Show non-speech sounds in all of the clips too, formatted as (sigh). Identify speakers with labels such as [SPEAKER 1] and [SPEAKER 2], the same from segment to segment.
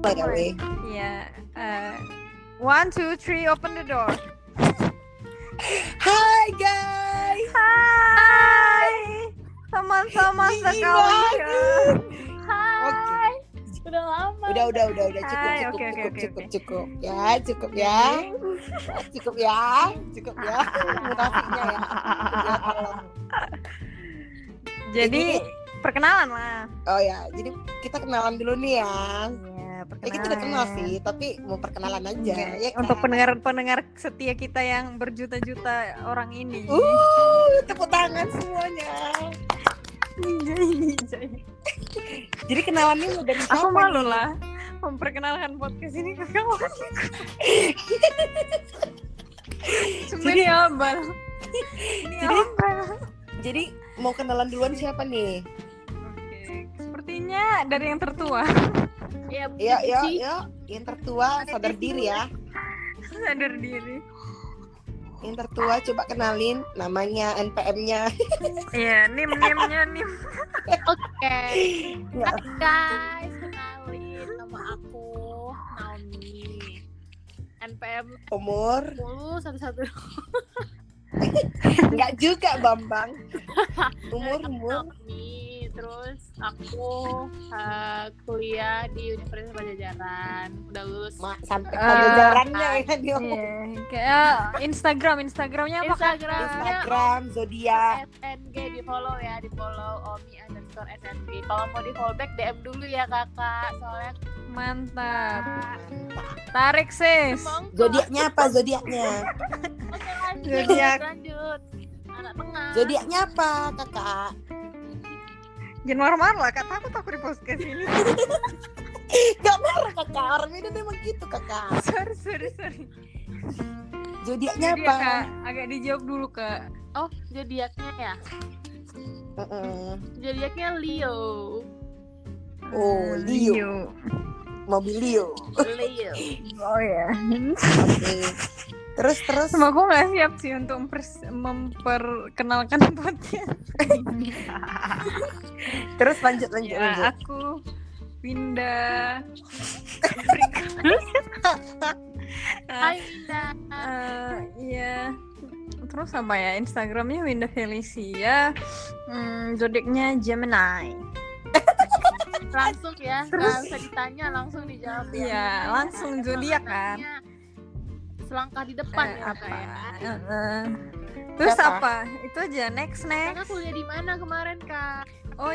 [SPEAKER 1] Boleh ya, Wei?
[SPEAKER 2] Yeah. Uh, one, two, three, open the door.
[SPEAKER 1] Hai guys.
[SPEAKER 2] Hai. Teman-teman
[SPEAKER 1] Dingin
[SPEAKER 2] sekeluarga.
[SPEAKER 1] Hai.
[SPEAKER 3] Udah lama.
[SPEAKER 1] Udah udah udah udah cukup
[SPEAKER 2] Hai,
[SPEAKER 1] cukup
[SPEAKER 2] oke, oke,
[SPEAKER 1] cukup
[SPEAKER 2] oke,
[SPEAKER 1] cukup cukup ya cukup ya cukup ya cukup ya mutasinya ya. Cukup ya, tolong.
[SPEAKER 2] Jadi perkenalan lah.
[SPEAKER 1] Oh ya jadi kita kenalan dulu nih ya.
[SPEAKER 2] Iya, perkenalan.
[SPEAKER 1] Ya kita udah kenal sih tapi mau perkenalan aja ya. kan?
[SPEAKER 2] Untuk pendengar-pendengar setia kita yang berjuta-juta orang ini.
[SPEAKER 1] Uh, tepuk tangan semuanya. Jadi kenalannya lo dari siapa?
[SPEAKER 2] (laughs) Aku malu
[SPEAKER 1] nih?
[SPEAKER 2] lah memperkenalkan podcast ini ke
[SPEAKER 1] (laughs)
[SPEAKER 2] kamu. Sumpah
[SPEAKER 1] Jadi-
[SPEAKER 2] ini (laughs) abal. Ini
[SPEAKER 1] Jadi-
[SPEAKER 2] abal.
[SPEAKER 1] Jadi mau kenalan duluan siapa nih?
[SPEAKER 2] Oke, Sepertinya dari yang tertua (laughs)
[SPEAKER 3] Ya,
[SPEAKER 1] Ya ya
[SPEAKER 3] sih.
[SPEAKER 1] ya yang tertua sadar diri ya.
[SPEAKER 2] sadar diri.
[SPEAKER 1] Yang tertua coba kenalin namanya NPM-nya.
[SPEAKER 2] Iya, nim nimnya nim.
[SPEAKER 3] Oke.
[SPEAKER 1] Ya.
[SPEAKER 3] Hai guys, kenalin nama aku Naomi. NPM
[SPEAKER 2] (laughs)
[SPEAKER 1] Umur
[SPEAKER 3] 10 satu satu.
[SPEAKER 1] enggak juga Bambang. Umur umur
[SPEAKER 3] Naomi. Terus aku eh, kuliah di Universitas Pajajaran. Udah lulus.
[SPEAKER 1] Ma, sampai
[SPEAKER 2] Ah,
[SPEAKER 1] pelajarannya ya dia.
[SPEAKER 2] Iya, kayak eh, Instagram Instagramnya apa?
[SPEAKER 3] Instagramnya
[SPEAKER 1] Instagram zodiak.
[SPEAKER 3] SNG di follow ya di follow Omi underscore SNG kalau mau di follow back DM dulu ya kakak soalnya
[SPEAKER 2] Mantap.
[SPEAKER 3] kakak
[SPEAKER 2] Tarik sis.
[SPEAKER 3] mongkos.
[SPEAKER 1] Zodiaknya apa zodiaknya?
[SPEAKER 3] Oke, lanjut,
[SPEAKER 2] Zodiak.
[SPEAKER 3] lanjut anak tengah
[SPEAKER 1] Zodiaknya apa, Kakak?
[SPEAKER 2] Jangan marah-marah lah, kak takut aku di podcast ini.
[SPEAKER 1] Gak marah Kakak, orang Medan emang gitu Kakak.
[SPEAKER 2] (laughs) sorry, sorry, sorry.
[SPEAKER 1] Zodiaknya
[SPEAKER 2] Jadi ya,
[SPEAKER 1] apa?
[SPEAKER 2] kak, agak dijawab dulu kak.
[SPEAKER 3] oh zodiaknya ya
[SPEAKER 1] Mm-mm.
[SPEAKER 3] zodiaknya Leo
[SPEAKER 1] Oh,
[SPEAKER 2] Hmm,
[SPEAKER 1] Leo. Mobilio.
[SPEAKER 3] Leo
[SPEAKER 2] Oh ya.
[SPEAKER 1] Oke. Terus terus
[SPEAKER 2] Semua aku nggak siap sih untuk mempers- memperkenalkan (laughs) podcast.
[SPEAKER 1] terus lanjut lanjut lanjut.
[SPEAKER 2] ya, aku (laughs) Winda. Eh,
[SPEAKER 3] Hai Winda
[SPEAKER 2] eh, Iya. Terus apa ya Instagramnya Winda Felicia, hmm, zodiaknya Gemini.
[SPEAKER 3] langsung ya
[SPEAKER 2] Terus.
[SPEAKER 3] nggak usah ditanya langsung dijawab ya
[SPEAKER 2] Iya, langsung zodiak kan.
[SPEAKER 3] selangkah di depan
[SPEAKER 2] Eh,
[SPEAKER 3] ya
[SPEAKER 2] apa?
[SPEAKER 3] kak ya
[SPEAKER 2] Eh, eh. Terus
[SPEAKER 1] Apa?
[SPEAKER 2] apa? Itu aja next next.
[SPEAKER 3] Kakak kuliah di mana kemarin kak?
[SPEAKER 2] Oh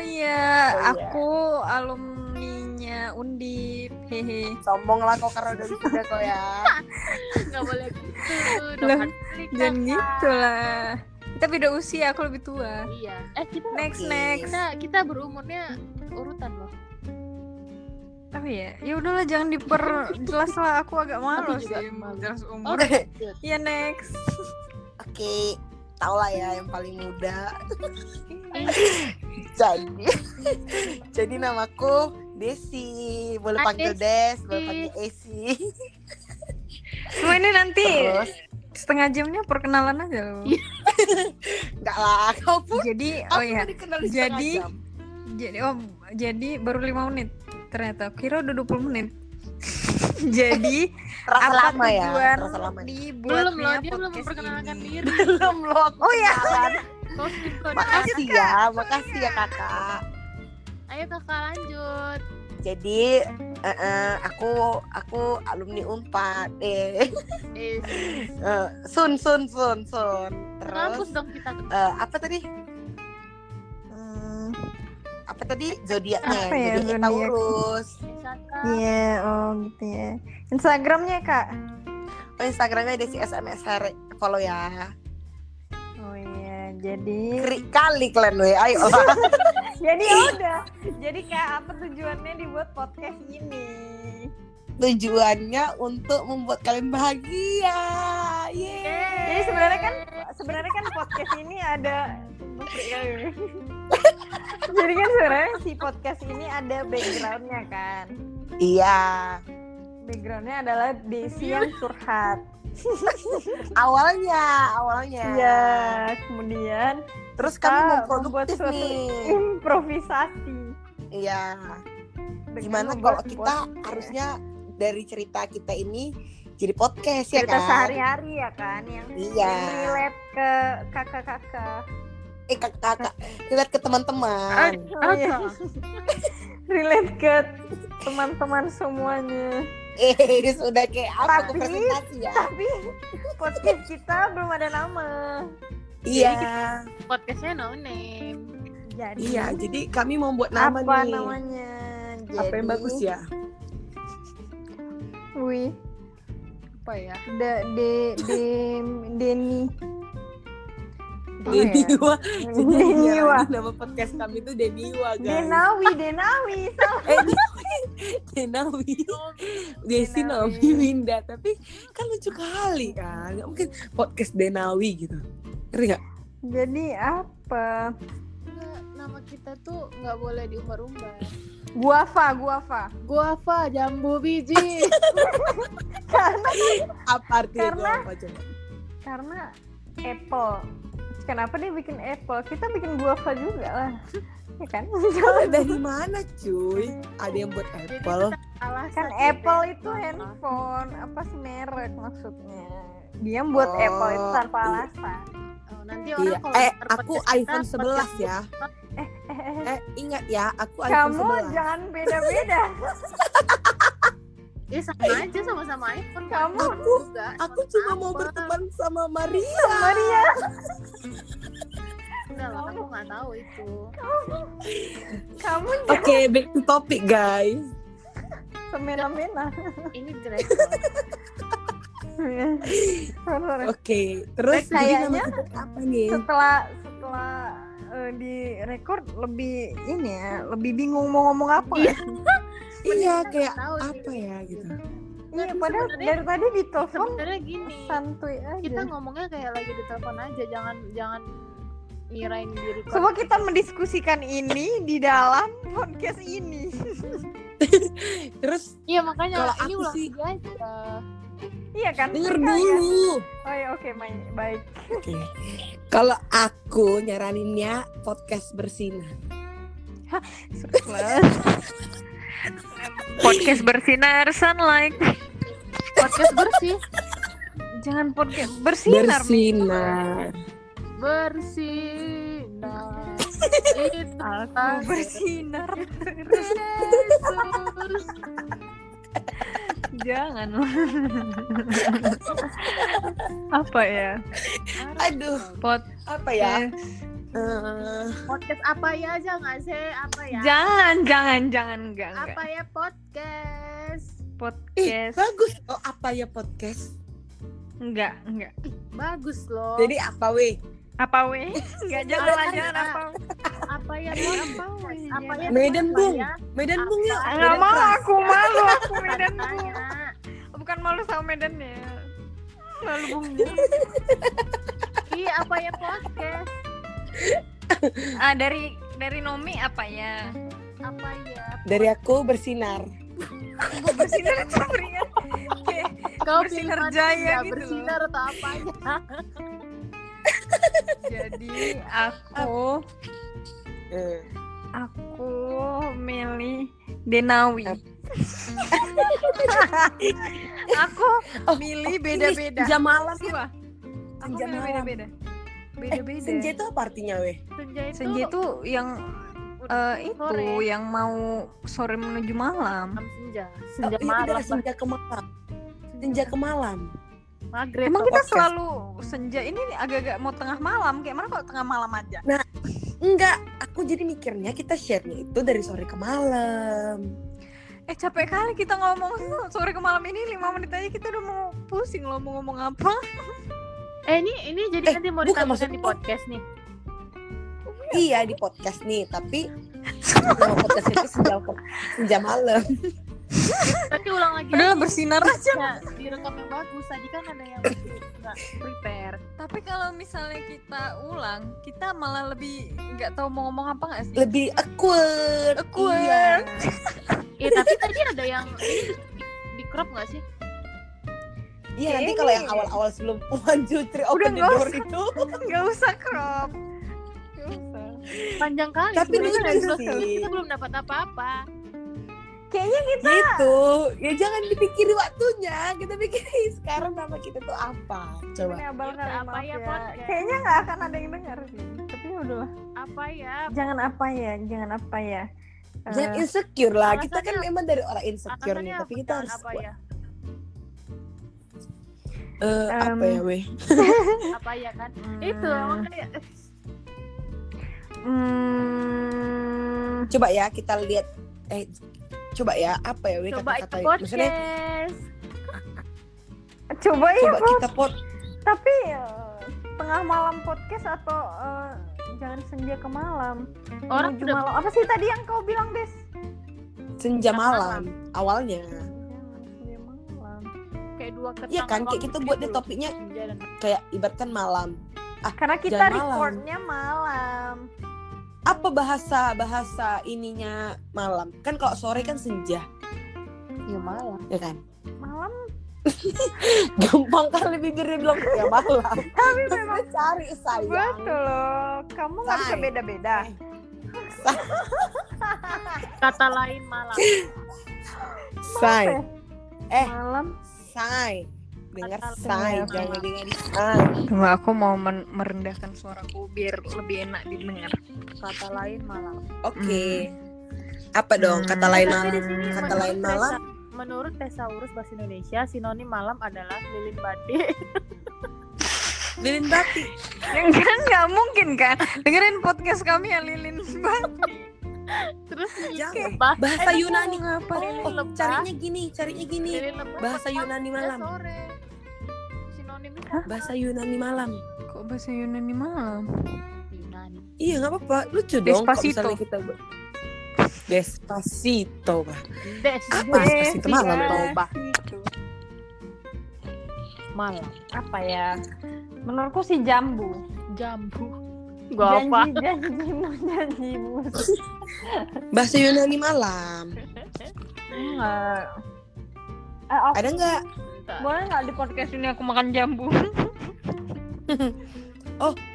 [SPEAKER 1] Oh
[SPEAKER 2] iya,
[SPEAKER 1] iya.
[SPEAKER 2] aku alumninya Undip. Hehe.
[SPEAKER 1] Sombong lah kok karena udah wisuda kok ya.
[SPEAKER 3] Gak boleh
[SPEAKER 2] (laughs)
[SPEAKER 3] gitu
[SPEAKER 2] Lah,
[SPEAKER 3] dong
[SPEAKER 2] Jangan gitu lah. Kita beda usia, aku lebih tua.
[SPEAKER 3] Iya Eh kita
[SPEAKER 2] Next
[SPEAKER 1] Oke.
[SPEAKER 2] next.
[SPEAKER 3] kita, kita berumurnya urutan loh
[SPEAKER 2] Apa ya? Ya udahlah jangan diperjelas lah, aku agak malu
[SPEAKER 3] juga
[SPEAKER 2] sih
[SPEAKER 3] malu.
[SPEAKER 2] jelas umur.
[SPEAKER 1] Oke,
[SPEAKER 2] Iya next.
[SPEAKER 1] Oke, tau lah ya yang paling muda.
[SPEAKER 3] Eh,
[SPEAKER 1] Jadi, (laughs) jadi namaku Ah, Desi. Boleh
[SPEAKER 3] Hai,
[SPEAKER 1] panggil Des, boleh panggil (laughs) Esi.
[SPEAKER 2] Semua ini nanti
[SPEAKER 3] Oh.
[SPEAKER 1] Terus,
[SPEAKER 2] setengah jamnya perkenalan aja loh.
[SPEAKER 3] Iya.
[SPEAKER 1] enggak lah, kau pun.
[SPEAKER 2] Jadi
[SPEAKER 1] aku
[SPEAKER 2] oh
[SPEAKER 1] udah
[SPEAKER 2] ya,
[SPEAKER 1] dikenal di
[SPEAKER 2] Jadi-
[SPEAKER 1] setengah jam.
[SPEAKER 2] jadi oh jadi baru lima menit ternyata. Kira udah 20 menit. (laughs) jadi
[SPEAKER 1] terasa
[SPEAKER 2] apa
[SPEAKER 1] lama ya,
[SPEAKER 2] tujuan
[SPEAKER 1] terasa lama.
[SPEAKER 2] dibuatnya
[SPEAKER 3] belum loh dia belum
[SPEAKER 2] podcast
[SPEAKER 3] memperkenalkan
[SPEAKER 2] ini?
[SPEAKER 3] diri
[SPEAKER 1] Belum (laughs) loh.
[SPEAKER 2] Oh ya,
[SPEAKER 3] Kok gitu Kak?
[SPEAKER 1] Makasih ya, makasih ya kakak.
[SPEAKER 3] ayo kakak lanjut
[SPEAKER 1] Jadi eh, eh, aku aku alumni Unpad. Eh, (laughs)
[SPEAKER 3] eh,
[SPEAKER 1] eh, Sun Sun Sun Sun. Terus
[SPEAKER 3] kampus dong kita
[SPEAKER 1] eh, apa tadi? Hmm, apa tadi zodiaknya?
[SPEAKER 4] Nah,
[SPEAKER 2] Apa ya
[SPEAKER 1] Zodiak
[SPEAKER 2] zodiak?
[SPEAKER 1] Taurus.
[SPEAKER 3] wisata
[SPEAKER 2] Iya, oh gitu ya. Instagramnya kak?
[SPEAKER 1] Oh, Instagramnya Desi SMSR follow ya.
[SPEAKER 2] Oh iya, jadi
[SPEAKER 1] Keri kali kalian we.
[SPEAKER 4] (laughs)
[SPEAKER 1] Ayo.
[SPEAKER 2] jadi ya udah. Jadi kak apa tujuannya dibuat podcast ini?
[SPEAKER 1] Tujuannya untuk membuat kalian bahagia.
[SPEAKER 3] Yeay.
[SPEAKER 1] Yeay.
[SPEAKER 2] Jadi sebenarnya kan sebenarnya kan podcast ini ada (laughs) jadi kan sebenarnya si podcast ini ada backgroundnya kan.
[SPEAKER 1] Iya.
[SPEAKER 2] Backgroundnya adalah Desi yang curhat.
[SPEAKER 1] Awalnya, awalnya.
[SPEAKER 2] Iya, kemudian
[SPEAKER 1] Terus
[SPEAKER 2] kita
[SPEAKER 1] kami mau
[SPEAKER 2] membuat
[SPEAKER 1] produktif
[SPEAKER 2] suatu
[SPEAKER 1] nih.
[SPEAKER 2] improvisasi.
[SPEAKER 1] Iya.
[SPEAKER 4] gimana kalau kita harusnya dari cerita kita ini jadi podcast ya
[SPEAKER 5] cerita
[SPEAKER 4] kan?
[SPEAKER 5] sehari-hari ya kan yang
[SPEAKER 4] Iya.
[SPEAKER 5] yang relate ke kakak-kakak
[SPEAKER 4] Eh kakak, lihat ke teman-teman.
[SPEAKER 5] Oh, iya. (laughs) relate ke teman-teman semuanya
[SPEAKER 4] Eh (laughs) sudah kayak apa
[SPEAKER 5] Tapi-
[SPEAKER 4] tuh presentasi ya?
[SPEAKER 5] tapi podcast kita belum ada nama
[SPEAKER 4] Iya,
[SPEAKER 3] podcastnya no name
[SPEAKER 5] jadi
[SPEAKER 1] Iya, jadi kami mau buat nama
[SPEAKER 5] apa
[SPEAKER 1] nih.
[SPEAKER 5] namanya jadi,
[SPEAKER 1] Apa yang bagus ya?
[SPEAKER 5] wih
[SPEAKER 3] apa ya
[SPEAKER 5] de de de deni
[SPEAKER 2] ya?
[SPEAKER 5] ya?
[SPEAKER 1] Deniwa. Jadi
[SPEAKER 5] deniwa
[SPEAKER 1] yang (laughs) nama podcast kami itu Deniwa, guys.
[SPEAKER 5] denawi denawi
[SPEAKER 1] Eh, Denawi.
[SPEAKER 3] Oh,
[SPEAKER 1] Desi
[SPEAKER 3] Denawi.
[SPEAKER 1] Nawi Winda, tapi kan lucu kali kan. Nggak mungkin podcast Denawi gitu. Ngerti nggak?
[SPEAKER 5] jadi apa
[SPEAKER 3] Nggak, nama kita tuh nggak boleh diumbar-umbar
[SPEAKER 5] guava guava
[SPEAKER 3] guava jambu biji
[SPEAKER 5] karena
[SPEAKER 1] Apa artinya
[SPEAKER 5] Karena-
[SPEAKER 1] gua apa coba?
[SPEAKER 5] karena apple kenapa dia bikin apple kita bikin guava juga lah ya kan
[SPEAKER 1] Dari mana cuy? Ada yang buat apple.
[SPEAKER 3] (laughs)
[SPEAKER 1] Iya.
[SPEAKER 3] Alah,
[SPEAKER 5] kan
[SPEAKER 3] satu
[SPEAKER 5] apple
[SPEAKER 3] deh.
[SPEAKER 5] itu
[SPEAKER 3] Ah,
[SPEAKER 5] handphone apa sih merek maksudnya dia buat
[SPEAKER 1] Oh,
[SPEAKER 5] apple itu tanpa
[SPEAKER 1] iya.
[SPEAKER 5] alasan
[SPEAKER 3] oh, nanti orang
[SPEAKER 1] Iya.
[SPEAKER 3] kalau
[SPEAKER 1] Eh,
[SPEAKER 3] denger
[SPEAKER 1] aku
[SPEAKER 3] podcast kita,
[SPEAKER 1] iPhone 11
[SPEAKER 3] podcast
[SPEAKER 1] ya.
[SPEAKER 5] Eh, eh, eh,
[SPEAKER 1] Eh, ingat ya, aku iPhone
[SPEAKER 5] kamu
[SPEAKER 1] 11.
[SPEAKER 5] jangan (laughs) beda-beda
[SPEAKER 3] Iya sama aja sama-sama iPhone.
[SPEAKER 5] Kamu-
[SPEAKER 3] Aku juga.
[SPEAKER 1] Aku cuma mau
[SPEAKER 3] Apa?
[SPEAKER 1] berteman sama Maria.
[SPEAKER 5] Maria
[SPEAKER 3] Enggak lah, aku nggak tahu itu.
[SPEAKER 5] kamu
[SPEAKER 1] Oke, back to topic guys.
[SPEAKER 5] semena-mena
[SPEAKER 3] Ini
[SPEAKER 1] (laughs)
[SPEAKER 3] jelek.
[SPEAKER 5] Sorry, sorry.
[SPEAKER 1] Oke, terus
[SPEAKER 5] Baik,
[SPEAKER 1] jadi nama
[SPEAKER 5] kayaknya-
[SPEAKER 1] kita apa nih?
[SPEAKER 5] setelah setelah eh, di record lebih ini ya lebih bingung mau ngomong apa ya?
[SPEAKER 1] Iya, kayak
[SPEAKER 3] ya? Tahu
[SPEAKER 1] apa ya gitu.
[SPEAKER 5] Iya,
[SPEAKER 3] Tapi
[SPEAKER 5] padahal
[SPEAKER 3] sebenarnya-
[SPEAKER 5] dari tadi di telepon
[SPEAKER 3] Sebenarnya gini,
[SPEAKER 5] santuy aja.
[SPEAKER 3] kita ngomongnya kayak lagi di telepon aja, jangan jangan ngirain diri.
[SPEAKER 5] Coba kita mendiskusikan ini di dalam podcast ini.
[SPEAKER 1] Terus
[SPEAKER 3] Iya makanya
[SPEAKER 1] Kalau
[SPEAKER 3] ini
[SPEAKER 1] aku
[SPEAKER 3] ulang
[SPEAKER 1] sih-
[SPEAKER 3] lagi aja.
[SPEAKER 5] iya kan?
[SPEAKER 1] denger
[SPEAKER 2] ya?
[SPEAKER 5] Iya, iya.
[SPEAKER 1] dulu.
[SPEAKER 5] Oh iya, oke, main- baik.
[SPEAKER 1] Oke. Kalau aku nyaraninnya podcast bersinar.
[SPEAKER 2] podcast bersinar sunlight
[SPEAKER 3] Podcast bersih,
[SPEAKER 2] jangan podcast bersinar
[SPEAKER 1] bersinar.
[SPEAKER 3] bersih. Nah,
[SPEAKER 2] (laughs)
[SPEAKER 3] itu
[SPEAKER 2] aku bersinar terus
[SPEAKER 3] terus.
[SPEAKER 2] (laughs) jangan apa ya
[SPEAKER 4] Aduh,
[SPEAKER 2] pot
[SPEAKER 4] apa ya?
[SPEAKER 1] Eh,
[SPEAKER 3] Podcast apa ya aja nggak sih? Apa ya?
[SPEAKER 2] jangan jangan jangan enggak enggak
[SPEAKER 3] apa ya podcast?
[SPEAKER 1] ih,
[SPEAKER 2] podcast
[SPEAKER 1] bagus. Oh, apa ya podcast?
[SPEAKER 2] enggak enggak
[SPEAKER 3] Bagus loh.
[SPEAKER 1] Jadi apa weh?
[SPEAKER 2] apa weh (laughs) enggak jangan lah, jangan apa
[SPEAKER 3] apa ya podcast? Apa ya
[SPEAKER 1] Medan,
[SPEAKER 3] podcast,
[SPEAKER 1] Bung.
[SPEAKER 3] ya?
[SPEAKER 1] Medan Bung yuk.
[SPEAKER 3] Apa? ya
[SPEAKER 2] enggak
[SPEAKER 1] Medan
[SPEAKER 2] mau
[SPEAKER 1] Trans.
[SPEAKER 2] aku (laughs) malu aku medan
[SPEAKER 3] Tanya.
[SPEAKER 2] bukan malu sama medannya malu bungnya
[SPEAKER 3] Iya, apa ya podcast?
[SPEAKER 2] ah dari dari Nomi apa ya
[SPEAKER 3] Apa ya?
[SPEAKER 1] Dari aku bersinar.
[SPEAKER 2] gue bersinar ya. itu (laughs) ringan kayak
[SPEAKER 3] Kau
[SPEAKER 2] Bersinar
[SPEAKER 3] pilihan
[SPEAKER 2] Jaya gitu
[SPEAKER 3] nggak
[SPEAKER 2] loh.
[SPEAKER 3] Bersinar atau apa ya?
[SPEAKER 2] jadi aku
[SPEAKER 1] Eh,
[SPEAKER 2] aku milih Denawi (laughs) aku milih beda-beda
[SPEAKER 1] oh, Senja malam.
[SPEAKER 2] Siapa? aku
[SPEAKER 1] Senja
[SPEAKER 2] milih
[SPEAKER 1] malam.
[SPEAKER 2] beda-beda
[SPEAKER 1] Eh,
[SPEAKER 2] beda-beda
[SPEAKER 1] senja itu apa artinya weh?
[SPEAKER 3] Senja itu,
[SPEAKER 2] senja itu yang eh, itu
[SPEAKER 3] sore.
[SPEAKER 2] yang mau sore menuju malam
[SPEAKER 3] Malam senja. Senja
[SPEAKER 1] Oh, iya,
[SPEAKER 3] malam.
[SPEAKER 1] bener, senja ke malam. Senja ke malam.
[SPEAKER 3] Maghrib.
[SPEAKER 2] emang kita
[SPEAKER 1] podcast.
[SPEAKER 2] selalu senja ini agak-agak mau tengah malam kayak mana kok tengah malam aja
[SPEAKER 1] Enggak, aku jadi mikirnya kita share-nya itu dari sore ke malam.
[SPEAKER 2] eh capek kali kita ngomong (laughs) sore ke malam ini lima menit aja kita udah mau pusing loh mau ngomong apa
[SPEAKER 3] Eh, ini ini jadi
[SPEAKER 1] Eh,
[SPEAKER 3] nanti mau
[SPEAKER 1] bukan,
[SPEAKER 3] ditampilkan
[SPEAKER 1] maksud
[SPEAKER 3] di
[SPEAKER 1] aku-
[SPEAKER 3] podcast nih.
[SPEAKER 1] Iya di podcast nih, tapi nama podcast itu senja, ke- senja malam.
[SPEAKER 3] Nanti ulang lagi.
[SPEAKER 2] udah lah, bersinar aja
[SPEAKER 3] Nah, direkam yang bagus. Tadi kan ada yang nggak prepare.
[SPEAKER 2] tapi kalau misalnya kita ulang kita malah lebih nggak tahu mau ngomong apa nggak sih
[SPEAKER 1] Lebih awkward.
[SPEAKER 2] Awkward.
[SPEAKER 1] Iya.
[SPEAKER 3] Iya, tapi tadi ada yang ini di, di crop nggak sih?
[SPEAKER 1] Iya, nanti kalau yang awal-awal sebelum one two three open
[SPEAKER 2] Udah
[SPEAKER 1] the
[SPEAKER 2] nggak
[SPEAKER 1] door
[SPEAKER 2] usah.
[SPEAKER 1] itu,
[SPEAKER 2] (laughs) nggak usah crop Nggak usah.
[SPEAKER 3] Panjang kali.
[SPEAKER 1] Tapi
[SPEAKER 3] sebenarnya
[SPEAKER 1] lucu
[SPEAKER 3] dari
[SPEAKER 1] sih.
[SPEAKER 3] Kita belum dapat apa-apa.
[SPEAKER 2] Kayaknya kita
[SPEAKER 1] gitu ya jangan dipikir waktunya kita pikirin sekarang nama kita tuh apa coba
[SPEAKER 2] Ini abal kali,
[SPEAKER 3] Apa
[SPEAKER 2] maaf
[SPEAKER 3] ya,
[SPEAKER 2] ya.
[SPEAKER 3] podcast?
[SPEAKER 2] Kayaknya nggak akan ada yang dengar sih. Tapi udahlah.
[SPEAKER 3] apa ya
[SPEAKER 2] Jangan apa ya, jangan apa ya. Eh,
[SPEAKER 1] jangan insecure lah kita kan
[SPEAKER 3] alasannya-
[SPEAKER 1] memang dari orang insecure nih
[SPEAKER 3] Alasannya
[SPEAKER 1] tapi kita
[SPEAKER 3] apa-
[SPEAKER 1] harus
[SPEAKER 3] apa ya
[SPEAKER 1] Eh, apa
[SPEAKER 2] Em,
[SPEAKER 1] ya weh
[SPEAKER 3] apa ya kan
[SPEAKER 2] hmm,
[SPEAKER 3] itu makanya eh,
[SPEAKER 2] hmm,
[SPEAKER 1] coba ya kita lihat eh coba ya apa ya weh
[SPEAKER 3] coba itu Iya,
[SPEAKER 1] kata-kata maksudnya
[SPEAKER 3] podcast
[SPEAKER 2] coba ya,
[SPEAKER 1] coba
[SPEAKER 2] Bos.
[SPEAKER 1] kita pot
[SPEAKER 2] Tapi eh, tengah malam podcast atau eh, jangan senja ke malam.
[SPEAKER 3] Orang
[SPEAKER 2] Menuju
[SPEAKER 3] udah-
[SPEAKER 2] malam. Apa sih tadi yang kau bilang, Des?
[SPEAKER 1] senja
[SPEAKER 3] Tengah
[SPEAKER 1] malam awalnya
[SPEAKER 2] Jangan senja malam.
[SPEAKER 3] kayak dua ketang gitu.
[SPEAKER 1] Iya kan, kayak kita buat deh topiknya. kayak ibaratkan malam
[SPEAKER 2] Karena kita
[SPEAKER 1] Jangan malam.
[SPEAKER 2] recordnya malam.
[SPEAKER 1] apa bahasa bahasa ininya malam kan kalau sore kan senja
[SPEAKER 6] Ya malah.
[SPEAKER 1] ya kan (laughs)
[SPEAKER 2] Malam
[SPEAKER 1] gampang kali pikirnya bilang ya malam
[SPEAKER 2] tapi
[SPEAKER 1] terus (laughs)
[SPEAKER 2] memang
[SPEAKER 1] dia cari sayang
[SPEAKER 2] betul loh. Kamu nggak bisa
[SPEAKER 1] Say.
[SPEAKER 2] beda-beda.
[SPEAKER 3] kata lain malam
[SPEAKER 1] say
[SPEAKER 2] Apa ya?
[SPEAKER 1] eh
[SPEAKER 2] Malam
[SPEAKER 1] say dengar
[SPEAKER 3] Kata
[SPEAKER 1] say
[SPEAKER 3] lain
[SPEAKER 1] jangan
[SPEAKER 3] malam.
[SPEAKER 1] dengan say
[SPEAKER 7] Cuma aku mau men- merendahkan suaraku biar lebih enak didengar.
[SPEAKER 3] kata lain malam
[SPEAKER 7] (laughs)
[SPEAKER 1] oke apa dong kata lain
[SPEAKER 3] Tapi di
[SPEAKER 1] malam
[SPEAKER 3] sini
[SPEAKER 1] kata
[SPEAKER 3] menurut
[SPEAKER 1] lain
[SPEAKER 3] Tessa-
[SPEAKER 1] malam
[SPEAKER 3] menurut Tesaurus bahasa Indonesia sinonim malam adalah lilin batik
[SPEAKER 1] lilin batik
[SPEAKER 7] Yang kan nggak mungkin kan? Dengerin podcast kami ya (laughs) Lilin banget.
[SPEAKER 3] terus lilin
[SPEAKER 1] Jangan.
[SPEAKER 3] lebah
[SPEAKER 1] bahasa
[SPEAKER 3] Eh,
[SPEAKER 1] Yunani
[SPEAKER 7] Ngapa
[SPEAKER 1] oh,
[SPEAKER 3] lilin
[SPEAKER 1] oh,
[SPEAKER 3] lebah.
[SPEAKER 1] carinya gini carinya gini
[SPEAKER 3] lilin lebah
[SPEAKER 1] bahasa
[SPEAKER 3] petang,
[SPEAKER 1] Yunani
[SPEAKER 3] ya
[SPEAKER 1] malam.
[SPEAKER 3] sore sinonimnya
[SPEAKER 1] bahasa Yunani malam
[SPEAKER 7] Kok bahasa Yunani malam?
[SPEAKER 3] Yunani
[SPEAKER 1] iya nggak apa-apa lucu dong kalau
[SPEAKER 7] Despacito.
[SPEAKER 1] misalnya kita ber- Despacito bah.
[SPEAKER 3] des
[SPEAKER 1] Apa Despacito malam
[SPEAKER 2] Iya.
[SPEAKER 1] dong?
[SPEAKER 2] Gitu.
[SPEAKER 3] malam
[SPEAKER 2] Apa ya? Menurutku si jambu.
[SPEAKER 3] jambu gua apa
[SPEAKER 2] janji, janjimu, janjimu.
[SPEAKER 1] Bahasa Yunani malam.
[SPEAKER 2] Enggak. Eh, aku-
[SPEAKER 1] Ada nggak?
[SPEAKER 2] boleh nggak di podcast ini aku makan jambu?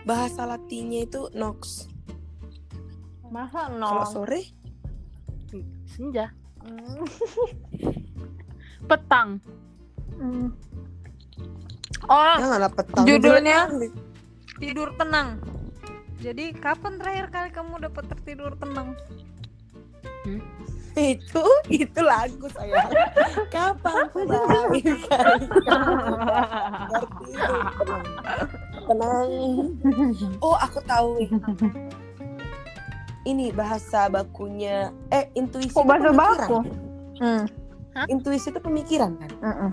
[SPEAKER 1] Bahasa Latinnya itu nox.
[SPEAKER 2] Masa
[SPEAKER 1] Kalau
[SPEAKER 2] nol?
[SPEAKER 1] sore
[SPEAKER 3] senja
[SPEAKER 2] Hmm.
[SPEAKER 3] petang
[SPEAKER 2] Hmm.
[SPEAKER 7] Oh,
[SPEAKER 1] janganlah petang.
[SPEAKER 7] Judulnya?
[SPEAKER 1] Jelek.
[SPEAKER 7] tidur tenang. Jadi kapan terakhir kali kamu dapat tertidur tenang?
[SPEAKER 1] itu itu lagu saya. Kapan terakhir kali ngerti itu? Tenang. Tenang. Oh, aku tahu. nih. Ini bahasa bakunya eh intuisi. itu
[SPEAKER 2] Kok Oh, bahasa
[SPEAKER 1] pemikiran.
[SPEAKER 2] baku? Hmm.
[SPEAKER 1] Intuisi itu pemikiran kan?
[SPEAKER 2] Mm-mm.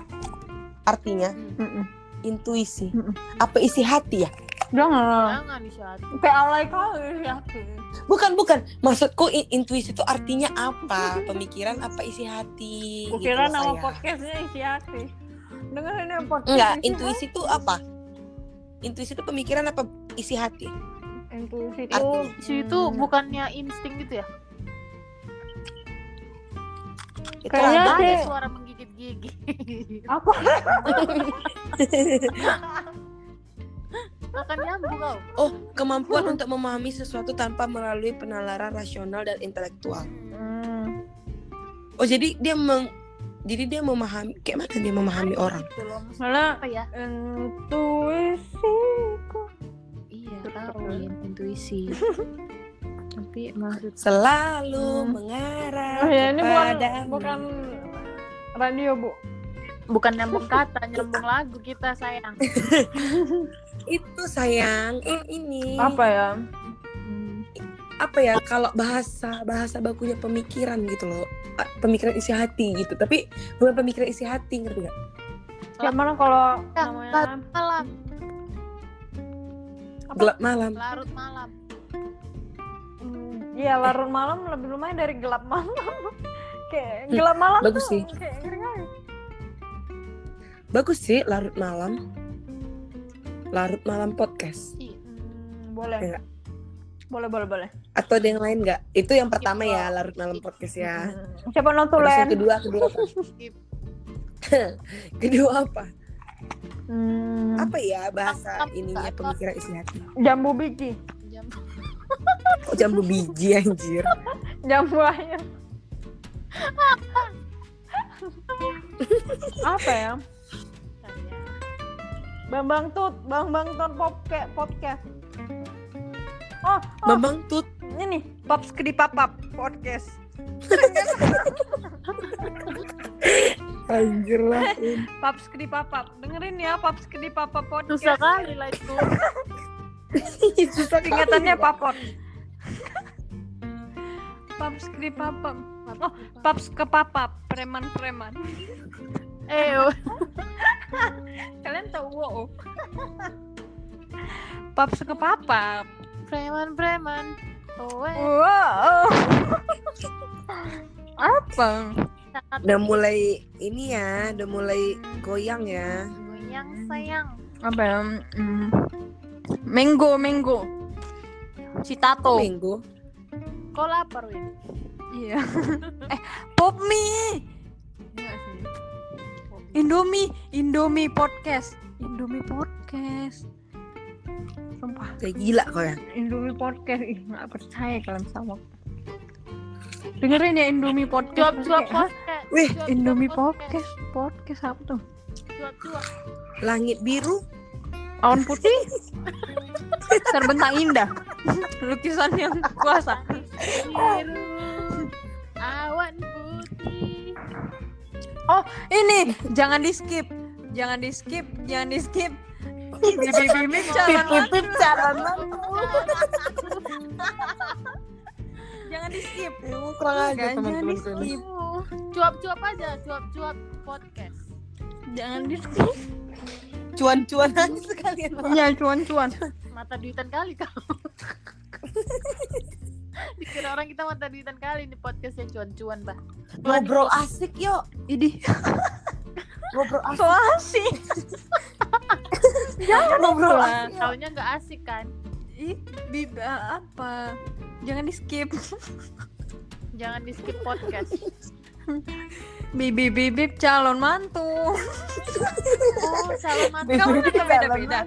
[SPEAKER 1] Artinya
[SPEAKER 2] Mm-mm.
[SPEAKER 1] intuisi.
[SPEAKER 2] Mm-mm.
[SPEAKER 1] Apa isi hati ya?
[SPEAKER 2] Jangan.
[SPEAKER 3] jangan di saat
[SPEAKER 2] Kayak alay kali yakin.
[SPEAKER 1] Bukan, bukan. Maksudku i- intuisi itu artinya apa? Pemikiran apa isi hati?
[SPEAKER 2] Kukira
[SPEAKER 1] gitu
[SPEAKER 2] nama
[SPEAKER 1] sayang.
[SPEAKER 2] podcastnya isi hati. Dengerin ya podcast.
[SPEAKER 1] Enggak,
[SPEAKER 2] isi
[SPEAKER 1] intuisi itu apa? Intuisi itu pemikiran apa isi hati?
[SPEAKER 2] hati. Intuisi itu.
[SPEAKER 1] Artinya.
[SPEAKER 3] Su itu bukannya insting gitu ya?
[SPEAKER 1] Itu
[SPEAKER 2] Kayaknya
[SPEAKER 1] ada.
[SPEAKER 2] sih-
[SPEAKER 3] Ada suara menggigit gigi.
[SPEAKER 2] Apa?
[SPEAKER 3] (laughs)
[SPEAKER 2] (laughs)
[SPEAKER 3] Makan nyambung kau.
[SPEAKER 1] Oh, kemampuan untuk memahami sesuatu tanpa melalui penalaran rasional dan intelektual.
[SPEAKER 2] Hmm.
[SPEAKER 1] Oh, jadi dia meng jadi dia memahami kayak mana dia memahami orang.
[SPEAKER 3] Gitu loh, maksudnya
[SPEAKER 2] Malah
[SPEAKER 3] apa ya?
[SPEAKER 2] intuisiku.
[SPEAKER 3] Iya,
[SPEAKER 2] tahu,
[SPEAKER 3] Win. (laughs) intuisi. Tapi maksud
[SPEAKER 1] Selalu
[SPEAKER 2] Hmm.
[SPEAKER 1] mengarah
[SPEAKER 2] Oh ya ini bukan
[SPEAKER 1] kepadamu.
[SPEAKER 2] bukan radio bu.
[SPEAKER 3] bukan nyambung kata, nyambung lagu kita sayang.
[SPEAKER 1] itu sayang. Eh, ini.
[SPEAKER 2] Apa ya?
[SPEAKER 7] Hmm.
[SPEAKER 1] apa ya kalau bahasa bahasa bakunya pemikiran gitu loh A- pemikiran isi hati gitu tapi bukan pemikiran isi hati ngerti nggak
[SPEAKER 2] Kayak mana kalau
[SPEAKER 3] Ya,
[SPEAKER 2] namanya
[SPEAKER 3] Malam, Apa?
[SPEAKER 1] gelap malam
[SPEAKER 3] larut malam.
[SPEAKER 2] Hmm, Iya larut malam lebih lumayan dari gelap malam. (laughs) kayak gelap malam
[SPEAKER 1] Hmm, bagus
[SPEAKER 2] tuh
[SPEAKER 1] sih.
[SPEAKER 2] kayak ngeri kali.
[SPEAKER 1] bagus sih larut malam larut malam podcast
[SPEAKER 2] Hmm, boleh.
[SPEAKER 1] Iya.
[SPEAKER 2] Boleh boleh boleh.
[SPEAKER 1] atau ada yang lain nggak itu yang pertama ya larut malam podcast ya
[SPEAKER 2] Hmm. Siapa nonton
[SPEAKER 1] Terus yang
[SPEAKER 2] Len?
[SPEAKER 1] kedua kedua (laughs) apa? kedua apa
[SPEAKER 2] Hmm,
[SPEAKER 1] apa ya bahasa
[SPEAKER 3] Apa?
[SPEAKER 1] ininya
[SPEAKER 3] Apa?
[SPEAKER 1] pemikiran isi hati
[SPEAKER 2] jambu biji,
[SPEAKER 3] Jam
[SPEAKER 1] kok jambu biji anjir (laughs)
[SPEAKER 2] jambu ayam.
[SPEAKER 8] apa ya
[SPEAKER 3] Saya
[SPEAKER 8] Bambang Tut Bambang Tut Popke podcast oh, oh
[SPEAKER 9] Bambang Tut
[SPEAKER 8] ini Paps Kedipapap podcast
[SPEAKER 9] anjir lah
[SPEAKER 1] (laughs)
[SPEAKER 8] Paps Kedipapap dengerin ya Paps Kedipapap podcast
[SPEAKER 3] susah kali lah itu
[SPEAKER 9] susah
[SPEAKER 8] Singkatannya papot. paps ke papap. Oh, paps ke papap, preman-preman.
[SPEAKER 3] eh
[SPEAKER 8] Kalian tahu wo. paps ke papap.
[SPEAKER 3] preman preman oh eh.
[SPEAKER 8] Wow. Apa?
[SPEAKER 9] udah mulai ini ya udah mulai goyang ya
[SPEAKER 3] goyang sayang
[SPEAKER 2] apa ya? Mm, mango, mango.
[SPEAKER 1] Oh.
[SPEAKER 2] Citato.
[SPEAKER 9] minggu
[SPEAKER 3] kok lapar Win
[SPEAKER 2] Iya. (laughs) eh, pop mie. Iya sih. Indomie, Indomie podcast. Indomie podcast. Sumpah,
[SPEAKER 9] kayak gila kau ya
[SPEAKER 2] Indomie podcast. Ih, nggak percaya kalian sama. aku. Dengerin ya Indomie
[SPEAKER 3] cuap
[SPEAKER 2] podcast.
[SPEAKER 3] cuap
[SPEAKER 2] Hah?
[SPEAKER 3] podcast
[SPEAKER 9] Wih,
[SPEAKER 3] Cuap-cuap
[SPEAKER 2] Indomie podcast, podcast apa tuh?
[SPEAKER 3] cuap cuap
[SPEAKER 9] langit biru
[SPEAKER 2] Awan putih. (laughs) Terbentang indah. Lukisan yang kuasa.
[SPEAKER 3] biru awan putih
[SPEAKER 2] Ini jangan di skip. Jangan di skip, jangan di skip. Bibi-bibi calon
[SPEAKER 1] Pipip calon
[SPEAKER 2] Jangan di skip.
[SPEAKER 9] Emang kurang aja
[SPEAKER 2] jangan di
[SPEAKER 9] teman-teman
[SPEAKER 2] skip.
[SPEAKER 3] cuap cuap aja cuap cuap podcast
[SPEAKER 2] Jangan di skip.
[SPEAKER 1] cuan-cuan aja sekalian.
[SPEAKER 2] Ya cuan-cuan.
[SPEAKER 3] mata duitan kali kau dikira orang kita mata duitan kali nih podcastnya cuan-cuan bah
[SPEAKER 1] Ngobrol asik yuk.
[SPEAKER 2] Ini
[SPEAKER 1] Ngobrol asik.
[SPEAKER 2] so (laughs) asik.
[SPEAKER 1] Ngobrol
[SPEAKER 2] lah.
[SPEAKER 1] asik. yuk.
[SPEAKER 3] taunya nggak asik kan
[SPEAKER 2] Ih, biba apa? Jangan di skip.
[SPEAKER 3] jangan di skip podcast
[SPEAKER 2] Bibi bibi calon mantu.
[SPEAKER 3] oh calon mantu
[SPEAKER 2] Kamu
[SPEAKER 1] Bibi-bibi
[SPEAKER 2] mereka
[SPEAKER 1] calon
[SPEAKER 2] beda-beda.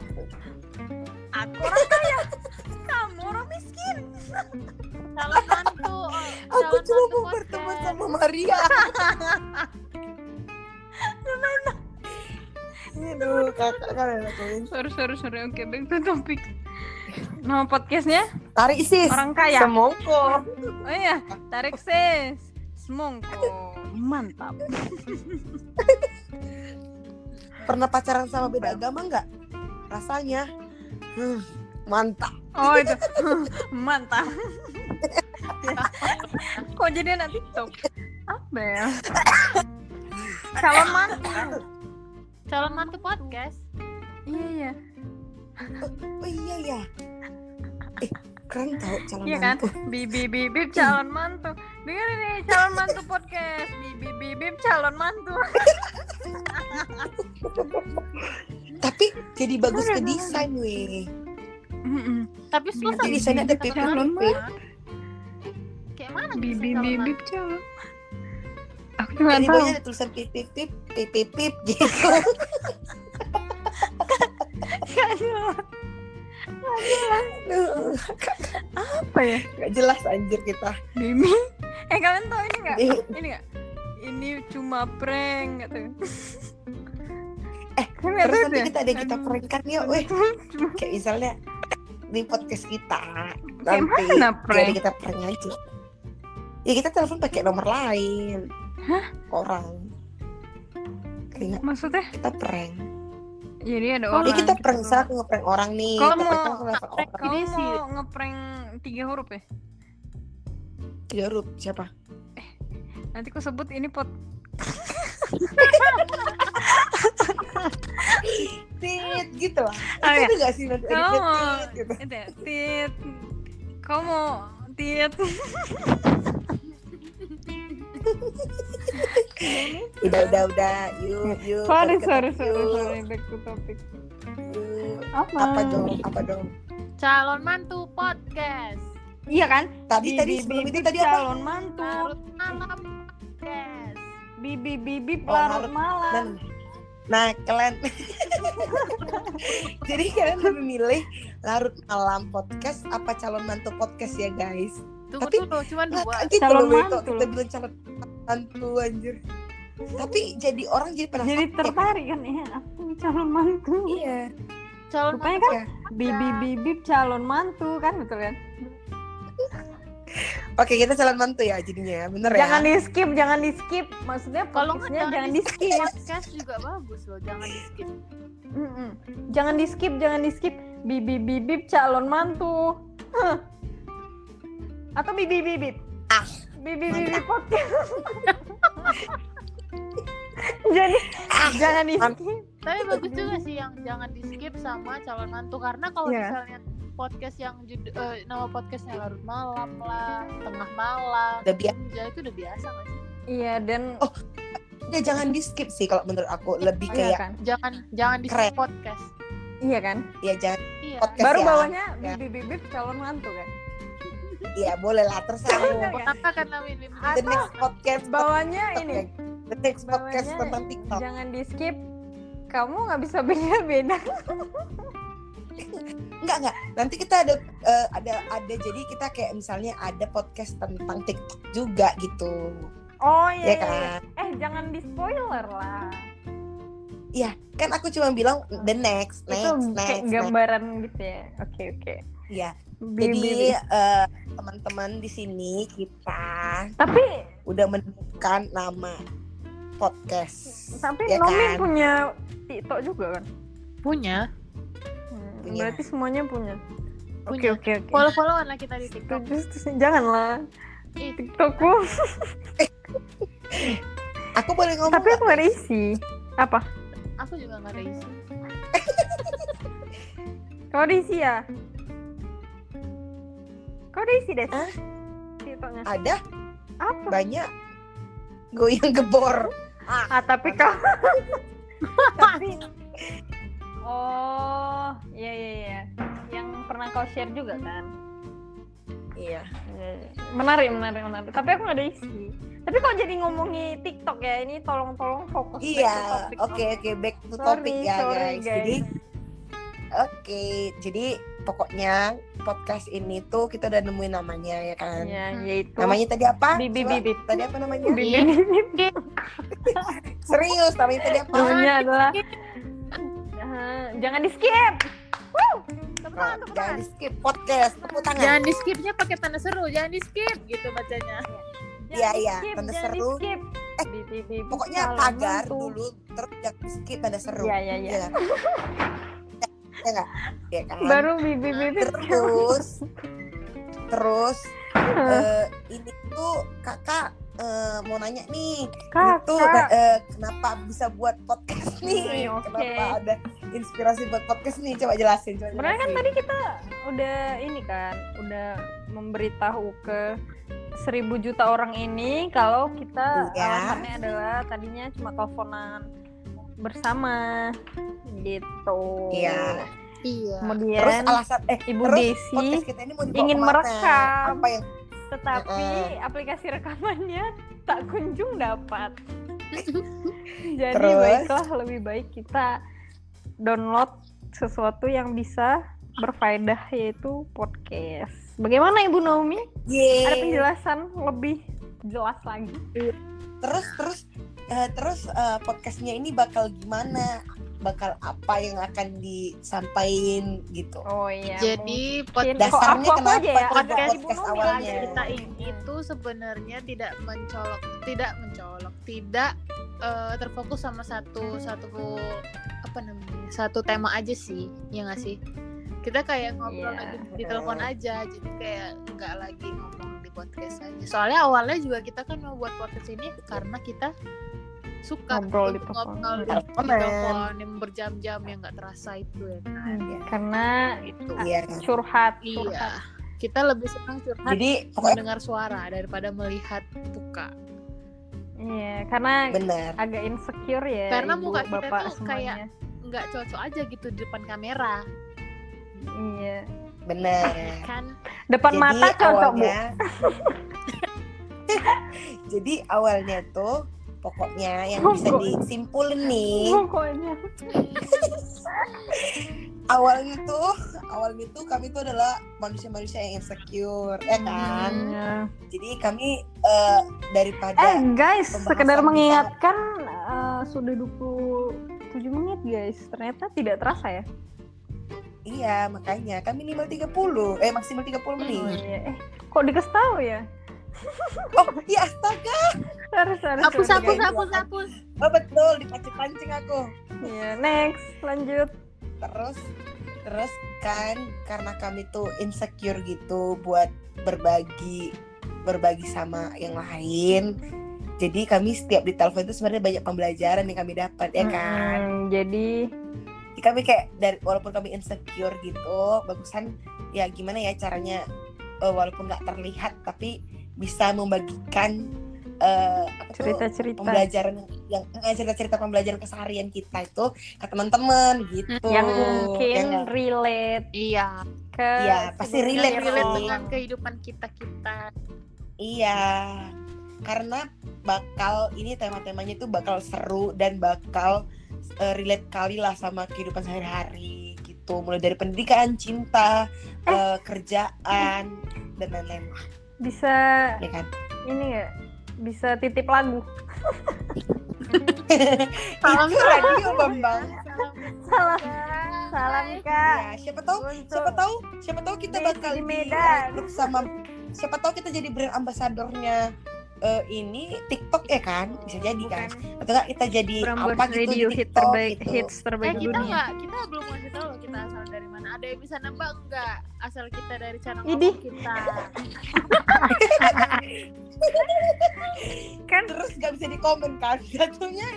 [SPEAKER 2] Aku orang kaya, kamu orang miskin.
[SPEAKER 3] calon mantu oh,
[SPEAKER 1] Aku
[SPEAKER 3] calon
[SPEAKER 1] cuma
[SPEAKER 3] mantu
[SPEAKER 1] mau
[SPEAKER 3] podcast.
[SPEAKER 1] berteman sama Maria. Aduh, kakak kalian lakuin.
[SPEAKER 2] Sorry sorry sorry. Oke, back to topic. Nama podcastnya
[SPEAKER 1] Tarik sis.
[SPEAKER 2] Orang Kaya.
[SPEAKER 1] Semongko.
[SPEAKER 2] Oh iya, tarik sis. Semongko. Mantap.
[SPEAKER 1] Pernah pacaran sama beda agama nggak? Rasanya. Hmm, mantap.
[SPEAKER 2] Oh itu (laughs) mantap. (laughs) Kok jadi anak TikTok? Apa ya? Calon mantu.
[SPEAKER 3] calon mantu podcast
[SPEAKER 2] Iya iya.
[SPEAKER 1] Oh iya ya. Eh, keren tau calon
[SPEAKER 2] Iya kan?
[SPEAKER 1] mantu.
[SPEAKER 2] Bibi bibib calon mantu. Dengerin nih calon mantu podcast. Bibi bibib calon mantu.
[SPEAKER 1] Tapi jadi bagus ke desain weh.
[SPEAKER 2] Mm-mm.
[SPEAKER 3] tapi susah
[SPEAKER 1] Tapi desainnya ada
[SPEAKER 3] Calon
[SPEAKER 1] pipit belum
[SPEAKER 3] mantu.
[SPEAKER 1] Weh?
[SPEAKER 3] kayak mana
[SPEAKER 2] Bibi
[SPEAKER 3] bisa calon
[SPEAKER 2] bibib
[SPEAKER 3] mantu?
[SPEAKER 2] calon. Aku juga
[SPEAKER 1] Di
[SPEAKER 2] nggak tahu.
[SPEAKER 1] bawahnya ada tulisan pip pip pip pip pip pip gitu. Aduh,
[SPEAKER 2] (laughs) Apa ya?
[SPEAKER 1] Nggak jelas anjir kita.
[SPEAKER 2] Bibi. Eh kalian tahu ini nggak? Ini nggak? Ini cuma prank gitu.
[SPEAKER 1] (laughs) Eh,
[SPEAKER 2] Kalian nggak
[SPEAKER 1] Terus
[SPEAKER 2] tahu
[SPEAKER 1] nanti
[SPEAKER 2] deh?
[SPEAKER 1] kita ada yang kita
[SPEAKER 2] Aduh.
[SPEAKER 1] prank kan yuk, weh. Kayak misalnya di podcast kita nanti
[SPEAKER 2] Gimana
[SPEAKER 1] kayak ada
[SPEAKER 2] prank?
[SPEAKER 1] kita prank aja. Ya kita telepon pakai nomor lain. Orang. Kayak
[SPEAKER 2] Maksudnya?
[SPEAKER 1] kita prank.
[SPEAKER 2] Jadi ada
[SPEAKER 3] Oh,
[SPEAKER 2] orang.
[SPEAKER 1] Ya kita prank
[SPEAKER 2] gitu.
[SPEAKER 1] misalnya aku ngeprank orang nih.
[SPEAKER 2] Kamu-
[SPEAKER 1] kita prank, aku nelfon
[SPEAKER 3] prank.
[SPEAKER 1] orang.
[SPEAKER 2] Kamu
[SPEAKER 3] Ini sih-
[SPEAKER 2] mau ngeprank tiga huruf ya?
[SPEAKER 1] Tiga huruf, siapa?
[SPEAKER 2] Nanti aku sebut ini pot.
[SPEAKER 1] Tit gitu lah.
[SPEAKER 2] Oh,
[SPEAKER 1] Itu ada nggak sih nanti
[SPEAKER 2] Kamu
[SPEAKER 1] editnya
[SPEAKER 2] mau
[SPEAKER 1] tit gitu.
[SPEAKER 2] itu ya, tit. Kamu mau tit.
[SPEAKER 1] Udah udah udah. Yuk yuk.
[SPEAKER 2] Sorry
[SPEAKER 1] balik ke
[SPEAKER 2] sorry
[SPEAKER 1] topik,
[SPEAKER 2] sorry
[SPEAKER 1] yuk,
[SPEAKER 2] sorry back to topic.
[SPEAKER 1] yuk.
[SPEAKER 2] Apa?
[SPEAKER 1] Apa dong? Apa dong?
[SPEAKER 3] calon mantu podcast
[SPEAKER 2] Iya kan?
[SPEAKER 1] Tadi tadi
[SPEAKER 2] Bibi,
[SPEAKER 1] sebelum itu
[SPEAKER 2] bibib
[SPEAKER 1] tadi apa?
[SPEAKER 2] calon mantu.
[SPEAKER 3] larut malam podcast
[SPEAKER 2] Bibi bibib
[SPEAKER 1] Oh,
[SPEAKER 2] larut
[SPEAKER 1] larut
[SPEAKER 2] malam.
[SPEAKER 1] Dan- Nah, kalian (laughs) Jadi kalian lebih milih larut malam podcast apa calon mantu podcast ya guys?
[SPEAKER 3] tunggu
[SPEAKER 1] Tapi-
[SPEAKER 3] dulu cuma dua
[SPEAKER 1] Nah, gitu
[SPEAKER 2] Calon
[SPEAKER 1] loh, Wiko.
[SPEAKER 2] mantu
[SPEAKER 1] Kita
[SPEAKER 2] loh.
[SPEAKER 1] bilang calon Mantu anjir.
[SPEAKER 10] Tapi jadi orang jadi penasaran.
[SPEAKER 2] Jadi tertarik kan ya, aku calon mantu.
[SPEAKER 1] Iya.
[SPEAKER 3] Calon
[SPEAKER 2] Rupanya
[SPEAKER 3] mantu
[SPEAKER 2] kan bibi bibi calon mantu kan betul kan?
[SPEAKER 1] Oke, kita calon mantu ya jadinya. Bener ya?
[SPEAKER 2] Jangan di skip, jangan di skip. Maksudnya
[SPEAKER 3] Kalau nggak
[SPEAKER 2] podcastnya
[SPEAKER 3] jangan
[SPEAKER 2] jangan di skip.
[SPEAKER 3] podcast juga bagus loh, jangan di skip.
[SPEAKER 2] Mm-mm. Jangan di skip, jangan di skip. Bibi bibi calon mantu. Heh. Atau bibi bibi.
[SPEAKER 10] Ah,
[SPEAKER 2] Bibi bibi podcast. Jadi
[SPEAKER 1] Ah,
[SPEAKER 2] jangan di
[SPEAKER 1] man-
[SPEAKER 2] skip.
[SPEAKER 3] Tapi bagus juga sih yang jangan di skip sama calon mantu karena kalau
[SPEAKER 2] Iya.
[SPEAKER 3] misalnya podcast yang judul eh, nama podcastnya larut malam lah, tengah malam,
[SPEAKER 10] Udah biasa.
[SPEAKER 3] senja itu udah biasa nggak sih?
[SPEAKER 2] Iya dan
[SPEAKER 1] Oh, Ya, jangan di skip sih kalau menurut aku lebih
[SPEAKER 2] iya
[SPEAKER 1] kayak
[SPEAKER 2] kan?
[SPEAKER 3] Jangan jangan di skip
[SPEAKER 1] Keren.
[SPEAKER 3] podcast.
[SPEAKER 2] Iya kan?
[SPEAKER 1] ya jangan
[SPEAKER 3] Iya.
[SPEAKER 1] Podcast.
[SPEAKER 2] Baru
[SPEAKER 1] ya.
[SPEAKER 2] bawahnya
[SPEAKER 1] Ya.
[SPEAKER 2] bibi bibi calon mantu kan.
[SPEAKER 1] ya boleh lah terserah.
[SPEAKER 2] Iya kan?
[SPEAKER 3] Kenapa karena ini
[SPEAKER 1] The next podcast
[SPEAKER 2] Bawahnya
[SPEAKER 1] tentang
[SPEAKER 2] ini
[SPEAKER 1] TikTok. The next podcast
[SPEAKER 2] Bawahnya
[SPEAKER 1] tentang TikTok.
[SPEAKER 2] jangan di skip. Kamu nggak bisa (laughs) beda-beda.
[SPEAKER 1] Enggak enggak. Nanti kita ada eh, ada ada jadi kita kayak misalnya ada podcast tentang TikTok juga gitu.
[SPEAKER 2] Oh
[SPEAKER 1] Ya
[SPEAKER 2] iya. iya, iya.
[SPEAKER 1] kan?
[SPEAKER 2] Eh jangan di spoiler lah.
[SPEAKER 1] Kan aku cuma bilang the next, next,
[SPEAKER 2] Itu
[SPEAKER 1] next,
[SPEAKER 2] kayak
[SPEAKER 1] next.
[SPEAKER 2] gambaran gitu ya. Oke oke.
[SPEAKER 1] Ya.
[SPEAKER 2] Bibi,
[SPEAKER 1] Jadi
[SPEAKER 2] bibi.
[SPEAKER 1] eh, teman-teman di sini kita
[SPEAKER 2] Tapi
[SPEAKER 1] udah menemukan nama podcast.
[SPEAKER 2] tapi
[SPEAKER 1] ya
[SPEAKER 2] Nomi
[SPEAKER 1] kan?
[SPEAKER 2] punya TikTok juga kan.
[SPEAKER 3] punya.
[SPEAKER 2] Hmm,
[SPEAKER 1] Punya.
[SPEAKER 2] Berarti semuanya punya. Oke
[SPEAKER 3] Punya.
[SPEAKER 2] oke oke.
[SPEAKER 3] Follow-followan lah kita di TikTok.
[SPEAKER 2] Setuju, setuju. Janganlah
[SPEAKER 3] Ih,
[SPEAKER 2] TikTokku.
[SPEAKER 1] Aku boleh ngomong
[SPEAKER 2] Tapi
[SPEAKER 1] nggak?
[SPEAKER 2] aku nggak ada isi. Apa?
[SPEAKER 3] aku juga nggak ada isi.
[SPEAKER 2] Kau ada isi ya? Kau ada isi deh.
[SPEAKER 1] Hah?
[SPEAKER 2] TikToknya.
[SPEAKER 1] ada
[SPEAKER 2] Apa?
[SPEAKER 1] banyak goyang gebor.
[SPEAKER 2] Ah, tapi kau (laughs) tapi Oh, iya iya iya. Yang pernah kau share juga kan?
[SPEAKER 1] Iya.
[SPEAKER 2] Iya, iya. Menarik, menarik, menarik. Tapi aku gak ada isi. Tapi kok jadi ngomongi TikTok ya? Ini tolong-tolong fokus back
[SPEAKER 1] Iya.
[SPEAKER 2] to topik.
[SPEAKER 1] Oke oke back to
[SPEAKER 2] Sorry,
[SPEAKER 1] topic ya
[SPEAKER 2] sorry,
[SPEAKER 1] guys. Jadi oke, jadi pokoknya podcast ini tuh kita udah nemuin namanya ya kan.
[SPEAKER 2] Iya, yaitu
[SPEAKER 1] Namanya tadi apa?
[SPEAKER 2] Bibi
[SPEAKER 1] Coba.
[SPEAKER 2] Bibi.
[SPEAKER 1] Tadi apa namanya?
[SPEAKER 2] Bibi
[SPEAKER 1] (laughs)
[SPEAKER 2] Bibi.
[SPEAKER 1] Serius, namanya tadi apa?
[SPEAKER 2] Namanya adalah Eh, jangan di skip. Woo! Tepuk
[SPEAKER 1] Oh,
[SPEAKER 2] tangan,
[SPEAKER 1] jangan
[SPEAKER 2] tepuk tangan.
[SPEAKER 1] di skip podcast tepuk tangan.
[SPEAKER 3] Jangan di skipnya pakai tanda seru, jangan di skip gitu bacanya.
[SPEAKER 1] Iya, iya.
[SPEAKER 2] skip,
[SPEAKER 1] Tanda
[SPEAKER 2] jangan
[SPEAKER 1] seru.
[SPEAKER 2] Di skip.
[SPEAKER 1] Eh,
[SPEAKER 2] Bibi, bibi,
[SPEAKER 1] Pokoknya
[SPEAKER 2] calon
[SPEAKER 1] pagar
[SPEAKER 2] mantu.
[SPEAKER 1] dulu terus jangan di skip ada seru.
[SPEAKER 2] Iya, iya, iya.
[SPEAKER 1] kan? Iya enggak? Iya kan?
[SPEAKER 2] Baru bibi bibi. (laughs)
[SPEAKER 1] terus terus eh, ini tuh Kakak eh, mau nanya nih, ini
[SPEAKER 2] Kakak.
[SPEAKER 1] tuh eh, kenapa bisa buat podcast nih?
[SPEAKER 2] Hmm, oke.
[SPEAKER 1] Kenapa ada inspirasi buat podcast nih? Coba jelasin, coba
[SPEAKER 2] Sebenarnya kan
[SPEAKER 1] jelasin.
[SPEAKER 2] tadi kita udah ini kan, udah memberitahu ke seribu juta orang ini kalau kita
[SPEAKER 1] Iya.
[SPEAKER 2] alasannya adalah tadinya cuma teleponan bersama gitu.
[SPEAKER 1] Iya.
[SPEAKER 3] Iya.
[SPEAKER 2] Kemudian
[SPEAKER 1] Terus alasan eh
[SPEAKER 2] kan Ibu
[SPEAKER 1] terus
[SPEAKER 2] Desi
[SPEAKER 1] podcast kita ini mau dibawa
[SPEAKER 2] ingin
[SPEAKER 1] kemana?
[SPEAKER 2] merekam.
[SPEAKER 1] Apa yang
[SPEAKER 2] tetapi
[SPEAKER 1] Mm-mm.
[SPEAKER 2] aplikasi rekamannya tak kunjung
[SPEAKER 1] (laughs)
[SPEAKER 2] dapat. Jadi
[SPEAKER 1] Terus?
[SPEAKER 2] baiklah lebih baik kita download sesuatu yang bisa berfaedah yaitu podcast. Bagaimana Ibu Naomi?
[SPEAKER 1] Yeay.
[SPEAKER 2] Ada penjelasan lebih jelas lagi?
[SPEAKER 1] terus terus eh, terus eh, podcastnya ini bakal gimana bakal apa yang akan disampaikan gitu
[SPEAKER 2] Oh iya.
[SPEAKER 3] Jadi
[SPEAKER 2] mungkin.
[SPEAKER 3] podcast
[SPEAKER 1] dasarnya
[SPEAKER 2] Kok aku-aku
[SPEAKER 1] kenapa
[SPEAKER 2] aja ya?
[SPEAKER 1] kita
[SPEAKER 2] Podcast
[SPEAKER 1] buat
[SPEAKER 2] Ibu
[SPEAKER 1] podcast
[SPEAKER 2] Nomi
[SPEAKER 1] awalnya?
[SPEAKER 2] lagi
[SPEAKER 3] kita ini itu sebenarnya tidak mencolok, tidak mencolok, tidak eh, terfokus sama satu satu apa namanya satu tema aja sih, ya nggak sih? Kita kayak
[SPEAKER 2] Iya.
[SPEAKER 3] ngobrol lagi di telepon aja, jadi kayak nggak lagi ngomong di podcast aja. Soalnya awalnya juga kita kan mau buat podcast ini karena kita suka
[SPEAKER 2] Ngobrol di telepon.
[SPEAKER 3] untuk
[SPEAKER 2] Iya,
[SPEAKER 3] ngobrol di
[SPEAKER 1] Teleponan.
[SPEAKER 3] telepon yang berjam-jam yang nggak terasa itu ya kan?
[SPEAKER 2] Karena
[SPEAKER 3] Itu.
[SPEAKER 1] Iya kan?
[SPEAKER 2] curhat,
[SPEAKER 3] Iya.
[SPEAKER 2] curhat.
[SPEAKER 3] Kita lebih senang curhat
[SPEAKER 1] jadi pokoknya
[SPEAKER 3] mendengar suara daripada melihat muka.
[SPEAKER 2] Iya, karena
[SPEAKER 1] benar
[SPEAKER 2] agak insecure ya.
[SPEAKER 3] Karena
[SPEAKER 2] Ibu,
[SPEAKER 3] muka kita
[SPEAKER 2] Bapak
[SPEAKER 3] tuh kayak-
[SPEAKER 2] semuanya.
[SPEAKER 3] Nggak cocok aja gitu di depan kamera.
[SPEAKER 2] iya.
[SPEAKER 1] benar
[SPEAKER 3] Kan
[SPEAKER 2] Depan
[SPEAKER 1] jadi
[SPEAKER 2] mata cocok, Bu. (laughs)
[SPEAKER 1] awalnya (laughs) jadi awalnya tuh
[SPEAKER 2] Oh,
[SPEAKER 1] pokoknya yang bisa
[SPEAKER 2] Pokok-
[SPEAKER 1] disimpulin nih
[SPEAKER 2] Pokoknya.
[SPEAKER 1] awalnya tuh awalnya tuh kami tuh adalah manusia-manusia yang insecure ya kan
[SPEAKER 2] Hmm.
[SPEAKER 1] jadi kami eh,
[SPEAKER 2] Eh
[SPEAKER 1] daripada
[SPEAKER 2] guys,
[SPEAKER 1] pembahasan
[SPEAKER 2] sekedar
[SPEAKER 1] kita.
[SPEAKER 2] mengingatkan eh, sudah 27 menit guys. Ternyata tidak terasa ya.
[SPEAKER 1] iya makanya kami minimal 30 eh maksimal 30
[SPEAKER 2] Oh,
[SPEAKER 1] menit
[SPEAKER 2] iya. Eh, kok dikasih tahu ya? Hmm.
[SPEAKER 1] oh iya astaga
[SPEAKER 2] Harus harus.
[SPEAKER 3] Hapus,
[SPEAKER 2] harus.
[SPEAKER 3] hapus, hapus, hapus.
[SPEAKER 1] oh, betul dipancing-pancing aku
[SPEAKER 2] Iya, next, lanjut.
[SPEAKER 1] terus terus kan karena kami tuh insecure gitu buat berbagi berbagi sama yang lain jadi kami setiap ditelepon itu sebenarnya banyak pembelajaran yang kami dapat ya kan
[SPEAKER 2] Mm, jadi
[SPEAKER 1] Jadi kami kayak dari walaupun kami insecure gitu bagusan ya gimana ya caranya eh, walaupun nggak terlihat tapi bisa membagikan eh, apa tuh,
[SPEAKER 2] cerita-cerita
[SPEAKER 1] pembelajaran yang eh, cerita-cerita pembelajaran keseharian kita itu ke teman-teman gitu
[SPEAKER 2] yang
[SPEAKER 1] Ya
[SPEAKER 2] mungkin
[SPEAKER 1] nggak?
[SPEAKER 2] relate
[SPEAKER 3] Iya.
[SPEAKER 2] ke
[SPEAKER 1] Iya, pasti
[SPEAKER 2] sebuah
[SPEAKER 1] relate
[SPEAKER 3] Yang
[SPEAKER 1] sih.
[SPEAKER 3] relate
[SPEAKER 2] orang.
[SPEAKER 3] dengan kehidupan kita kita.
[SPEAKER 1] Iya, karena bakal ini tema-temanya itu bakal seru dan bakal eh, relate kali lah sama kehidupan sehari-hari gitu. Mulai dari pendidikan, cinta, eh, kerjaan dan lain-lain lah,
[SPEAKER 2] bisa
[SPEAKER 1] ya
[SPEAKER 11] (laughs)
[SPEAKER 1] kan?
[SPEAKER 2] ini nggak bisa titip lagu (laughs)
[SPEAKER 1] itu radio bambang.
[SPEAKER 2] salam salam
[SPEAKER 11] Iya.
[SPEAKER 1] Ya,
[SPEAKER 2] kak
[SPEAKER 1] siapa tahu,
[SPEAKER 2] Untuk-
[SPEAKER 1] siapa tahu, siapa tahu kita
[SPEAKER 2] Messi
[SPEAKER 1] bakal
[SPEAKER 2] di
[SPEAKER 1] di-
[SPEAKER 2] Medan.
[SPEAKER 1] grup sama. Siapa tahu kita jadi brand ambasadornya eh, ini TikTok ya kan? Bisa jadi kan?
[SPEAKER 2] Bukan
[SPEAKER 1] Atau enggak kita jadi
[SPEAKER 11] Prambors
[SPEAKER 1] apa gitu di
[SPEAKER 11] Radio hit
[SPEAKER 1] TikTok
[SPEAKER 11] terbaik
[SPEAKER 2] Oh,
[SPEAKER 1] gitu.
[SPEAKER 11] hits
[SPEAKER 3] Eh
[SPEAKER 11] terbaik
[SPEAKER 3] kita
[SPEAKER 11] dunia.
[SPEAKER 3] nggak, kita belum ngasih tahu loh kita asal dari mana. Ada yang bisa nembak nggak asal kita dari channel
[SPEAKER 2] Ini.
[SPEAKER 3] ngomong kita?
[SPEAKER 11] kan
[SPEAKER 1] terus gak bisa dikomen kan (laughs) jatuhnya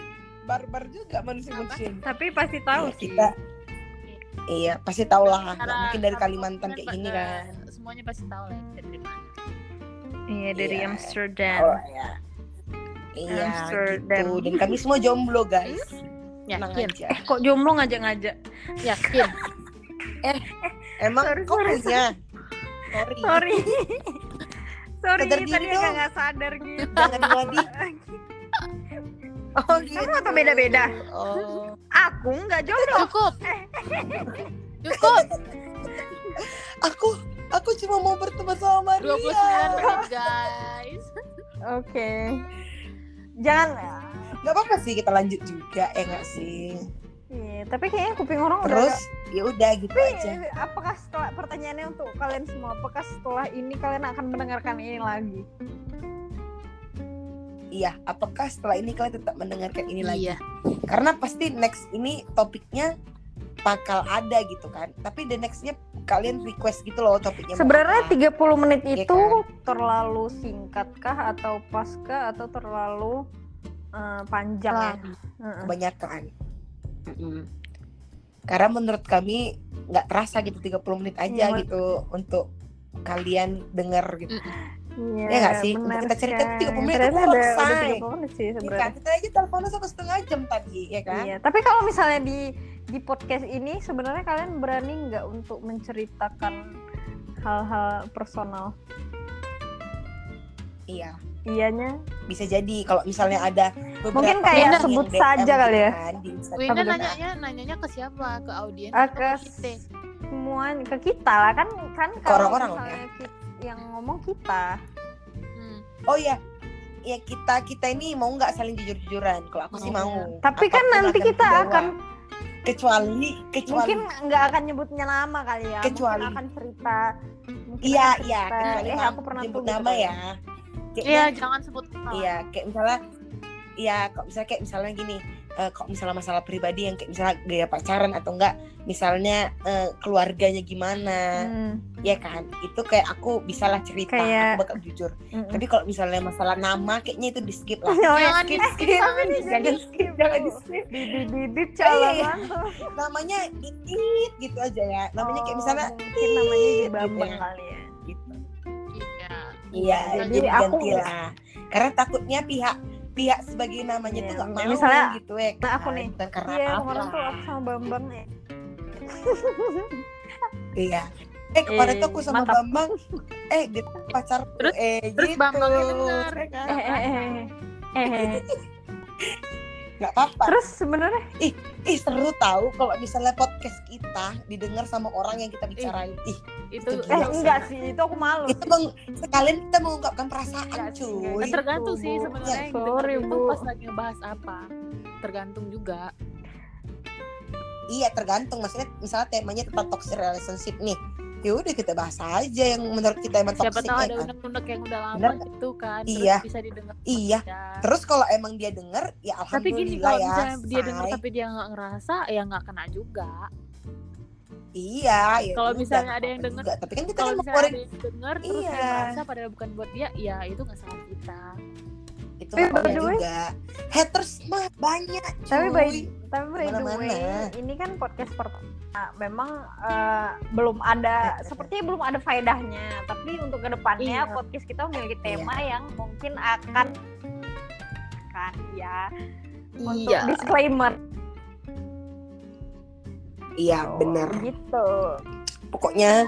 [SPEAKER 1] barbar juga manusia-manusia ini.
[SPEAKER 11] tapi pasti tahu
[SPEAKER 1] Iya,
[SPEAKER 11] sih.
[SPEAKER 1] kita iya pasti tau lah nggak
[SPEAKER 3] Cara-
[SPEAKER 1] mungkin dari
[SPEAKER 3] cara
[SPEAKER 1] Kalimantan
[SPEAKER 3] ngomong
[SPEAKER 1] kayak
[SPEAKER 3] dan
[SPEAKER 1] gini
[SPEAKER 3] ba-
[SPEAKER 1] kan
[SPEAKER 3] Semuanya pasti tahu lah kita dari mana.
[SPEAKER 11] Iya dari
[SPEAKER 1] Iya.
[SPEAKER 11] Amsterdam.
[SPEAKER 1] oh ya iya
[SPEAKER 11] Amsterdam.
[SPEAKER 1] gitu dan kami semua jomblo guys tenang
[SPEAKER 3] Yakin,
[SPEAKER 1] aja
[SPEAKER 11] Eh kok jomblo ngajak-ngajak?
[SPEAKER 3] Iya. yakin.
[SPEAKER 1] emang
[SPEAKER 2] sorry,
[SPEAKER 1] kok
[SPEAKER 2] sorry,
[SPEAKER 1] punya sorry,
[SPEAKER 2] (laughs) sorry sorry
[SPEAKER 1] Sadar diri
[SPEAKER 2] tadi agak
[SPEAKER 1] dong.
[SPEAKER 2] nggak sadar gitu
[SPEAKER 11] (laughs)
[SPEAKER 1] jangan
[SPEAKER 2] (laughs)
[SPEAKER 1] wadi oh gitu
[SPEAKER 2] Kamu atau beda-beda?
[SPEAKER 1] oh
[SPEAKER 2] aku nggak jomblo
[SPEAKER 3] Cukup. Cukup.
[SPEAKER 1] aku aku cuma mau berteman sama Maria
[SPEAKER 3] 29 menit guys.
[SPEAKER 2] oke jangan
[SPEAKER 1] nggak apa-apa sih kita lanjut juga ya nggak sih
[SPEAKER 2] Iya, tapi kayaknya kuping orang udah
[SPEAKER 1] terus ya udah gitu aja
[SPEAKER 2] Eh, apakah setelah pertanyaannya untuk kalian semua apakah setelah ini kalian akan mendengarkan ini lagi
[SPEAKER 1] Iya, apakah setelah ini kalian tetap mendengarkan ini lagi?
[SPEAKER 3] Iya.
[SPEAKER 1] Karena pasti next ini topiknya bakal ada gitu kan. Tapi the nextnya kalian request gitu loh topiknya. mau
[SPEAKER 2] sebenarnya
[SPEAKER 1] apa.
[SPEAKER 2] 30 menit
[SPEAKER 1] Iya
[SPEAKER 2] itu terlalu singkat kah atau pas kah atau terlalu eh, panjang ya Heeh.
[SPEAKER 1] kebanyakan. Mm-mm. Karena menurut kami nggak terasa gitu 30 menit aja
[SPEAKER 2] Iya,
[SPEAKER 1] gitu untuk kalian denger gitu.
[SPEAKER 2] Iya,
[SPEAKER 1] Iya nggak sih? Untuk
[SPEAKER 2] benar
[SPEAKER 1] kita cerita
[SPEAKER 2] sekali.
[SPEAKER 1] 30 menit
[SPEAKER 2] Ternyata
[SPEAKER 1] itu
[SPEAKER 2] ada,
[SPEAKER 1] selesai.
[SPEAKER 2] ada 30 menit sih
[SPEAKER 1] Iya kan?
[SPEAKER 2] sebenarnya.
[SPEAKER 1] Kita aja teleponnya satu setengah jam tadi, ya kan?
[SPEAKER 2] Iya, tapi kalau misalnya di di podcast ini sebenarnya kalian berani nggak untuk menceritakan hal-hal personal?
[SPEAKER 1] Iya.
[SPEAKER 2] Iyanya
[SPEAKER 1] Bisa jadi kalau misalnya ada beberapa
[SPEAKER 2] Mungkin kayak
[SPEAKER 1] yang
[SPEAKER 2] sebut
[SPEAKER 1] DM
[SPEAKER 2] saja
[SPEAKER 1] gitu
[SPEAKER 2] kali ya.
[SPEAKER 1] kan di Instagram.
[SPEAKER 3] Winda
[SPEAKER 2] benar?
[SPEAKER 3] nanyanya, nanyanya ke siapa? Ke audiens
[SPEAKER 2] Ah,
[SPEAKER 3] atau
[SPEAKER 2] ke
[SPEAKER 3] kita?
[SPEAKER 2] semua ke kita lah kan kan kalau
[SPEAKER 1] orang-orang lah ya.
[SPEAKER 2] misalnya ki- yang ngomong kita.
[SPEAKER 3] Hmm.
[SPEAKER 1] Oh ya, ya kita kita ini mau nggak saling jujur-jujuran? Kalau aku sih
[SPEAKER 3] Mau.
[SPEAKER 1] mau.
[SPEAKER 2] Tapi kan
[SPEAKER 1] Apapun
[SPEAKER 2] nanti kita
[SPEAKER 1] dibawa.
[SPEAKER 2] akan
[SPEAKER 1] kecuali kecuali
[SPEAKER 2] mungkin nggak akan nyebutnya nama kali ya.
[SPEAKER 1] Kecuali.
[SPEAKER 2] mungkin akan cerita. mungkin
[SPEAKER 1] iya
[SPEAKER 2] akan
[SPEAKER 1] iya
[SPEAKER 2] cerita,
[SPEAKER 1] kecuali
[SPEAKER 2] eh,
[SPEAKER 1] mau
[SPEAKER 2] aku pernah
[SPEAKER 1] nyebut
[SPEAKER 2] tuh gitu
[SPEAKER 1] nama
[SPEAKER 2] kan.
[SPEAKER 1] ya. Kayaknya,
[SPEAKER 3] Iya, jangan sebut nama.
[SPEAKER 1] iya kayak misalnya iya kalau misalnya kayak misalnya gini eh kalau misalnya masalah pribadi yang kayak misalnya gaya pacaran atau enggak misalnya eh, keluarganya gimana
[SPEAKER 2] Hmm,
[SPEAKER 1] ya kan itu kayak aku bisalah cerita
[SPEAKER 2] Kayak-
[SPEAKER 1] aku bakal jujur
[SPEAKER 2] mm-mm. (laughs)
[SPEAKER 1] tapi kalau misalnya masalah nama kayaknya itu di skip lah
[SPEAKER 2] Oh, ya,
[SPEAKER 3] Jangan
[SPEAKER 2] skip,
[SPEAKER 3] di-
[SPEAKER 2] skip.
[SPEAKER 3] jangan
[SPEAKER 2] Tapi
[SPEAKER 1] jangan di skip jangan di skip
[SPEAKER 2] di di di di
[SPEAKER 1] Iya, iya.
[SPEAKER 2] calon tuh.
[SPEAKER 1] namanya itit gitu aja ya namanya kayak misalnya
[SPEAKER 2] Oh, mungkin namanya di
[SPEAKER 1] gitu
[SPEAKER 2] Bambang
[SPEAKER 1] ya.
[SPEAKER 2] kali ya.
[SPEAKER 1] gitu.
[SPEAKER 3] Iya.
[SPEAKER 1] Iya,
[SPEAKER 2] Jadi
[SPEAKER 1] jadi,
[SPEAKER 2] aku-
[SPEAKER 1] ganti lah. Karena takutnya pihak pihak sebagai namanya
[SPEAKER 2] Iya,
[SPEAKER 1] tuh nggak
[SPEAKER 2] kayak
[SPEAKER 1] mau
[SPEAKER 2] misalnya,
[SPEAKER 1] gitu ya.
[SPEAKER 2] nah, aku
[SPEAKER 1] kan.
[SPEAKER 2] nih.
[SPEAKER 1] Bukan karena
[SPEAKER 2] Iya,
[SPEAKER 1] apa.
[SPEAKER 2] kemarin tuh aku sama Bambang ya.
[SPEAKER 1] Iya. Eh kemarin
[SPEAKER 2] Eh,
[SPEAKER 1] tuh aku sama
[SPEAKER 2] mantap.
[SPEAKER 1] Bambang. Eh dia tuh pacar.
[SPEAKER 3] Terus-
[SPEAKER 1] eh,
[SPEAKER 3] terus
[SPEAKER 1] gitu.
[SPEAKER 3] ya kan? Bambangnya denger.
[SPEAKER 1] Ya kan?
[SPEAKER 2] Eh, eh, eh, eh. Eh, eh.
[SPEAKER 1] nggak apa-apa
[SPEAKER 2] Terus
[SPEAKER 1] Iya,
[SPEAKER 2] sebenarnya
[SPEAKER 1] ih seru tahu kalau misalnya podcast kita didengar sama orang yang kita bicarain ih
[SPEAKER 3] itu
[SPEAKER 1] Itu
[SPEAKER 2] eh
[SPEAKER 1] Iya,
[SPEAKER 2] enggak sih itu aku malu.
[SPEAKER 1] itu meng, sekalian kita mengungkapkan perasaan
[SPEAKER 2] Enggak sih,
[SPEAKER 1] cuy
[SPEAKER 2] enggak.
[SPEAKER 3] Eh, tergantung
[SPEAKER 2] Bu.
[SPEAKER 3] sih sebenarnya yang
[SPEAKER 2] Sorry,
[SPEAKER 3] didengar itu
[SPEAKER 2] Bu.
[SPEAKER 3] pas lagi ngebahas apa tergantung juga
[SPEAKER 1] iya tergantung maksudnya misalnya temanya tentang toxic relationship nih ya udah kita bahas aja yang menurut kita emang
[SPEAKER 3] siapa
[SPEAKER 1] toxic
[SPEAKER 3] tahu
[SPEAKER 1] ya
[SPEAKER 3] ada
[SPEAKER 1] kan?
[SPEAKER 3] unek-unek yang udah lama
[SPEAKER 1] Bener
[SPEAKER 3] gitu kan
[SPEAKER 1] Iya.
[SPEAKER 3] terus bisa didengar sama
[SPEAKER 1] Iya.
[SPEAKER 3] dia.
[SPEAKER 1] terus kalau emang dia denger ya
[SPEAKER 3] tapi gini
[SPEAKER 1] alhamdulillah
[SPEAKER 3] kalau
[SPEAKER 1] ya
[SPEAKER 3] misalnya dia dengar
[SPEAKER 1] say.
[SPEAKER 3] tapi dia nggak ngerasa ya nggak kena juga
[SPEAKER 1] iya ya
[SPEAKER 3] Kalau
[SPEAKER 1] udah,
[SPEAKER 3] misalnya
[SPEAKER 1] nggak
[SPEAKER 3] ada yang
[SPEAKER 1] apa-apa
[SPEAKER 3] denger,
[SPEAKER 1] juga. tapi kan kita
[SPEAKER 3] kalau
[SPEAKER 1] kan
[SPEAKER 3] misalnya
[SPEAKER 1] ngeluarin
[SPEAKER 3] ada yang denger terus dia
[SPEAKER 1] Iya.
[SPEAKER 3] ngerasa padahal bukan buat dia ya itu nggak salah kita
[SPEAKER 1] itu
[SPEAKER 2] Eh,
[SPEAKER 1] nggak apa-apa
[SPEAKER 2] by the way.
[SPEAKER 1] juga haters mah banyak cuy
[SPEAKER 2] Tapi by, tapi by the
[SPEAKER 1] Kemana-mana.
[SPEAKER 2] way, ini kan podcast pertama. Memang eh, belum
[SPEAKER 1] eh,
[SPEAKER 2] ada, sepertinya belum ada faedahnya. Tapi untuk kedepannya
[SPEAKER 3] Iya.
[SPEAKER 2] podcast kita memiliki tema yang mungkin akan kan ya untuk disclaimer
[SPEAKER 1] iya benar
[SPEAKER 2] gitu
[SPEAKER 1] pokoknya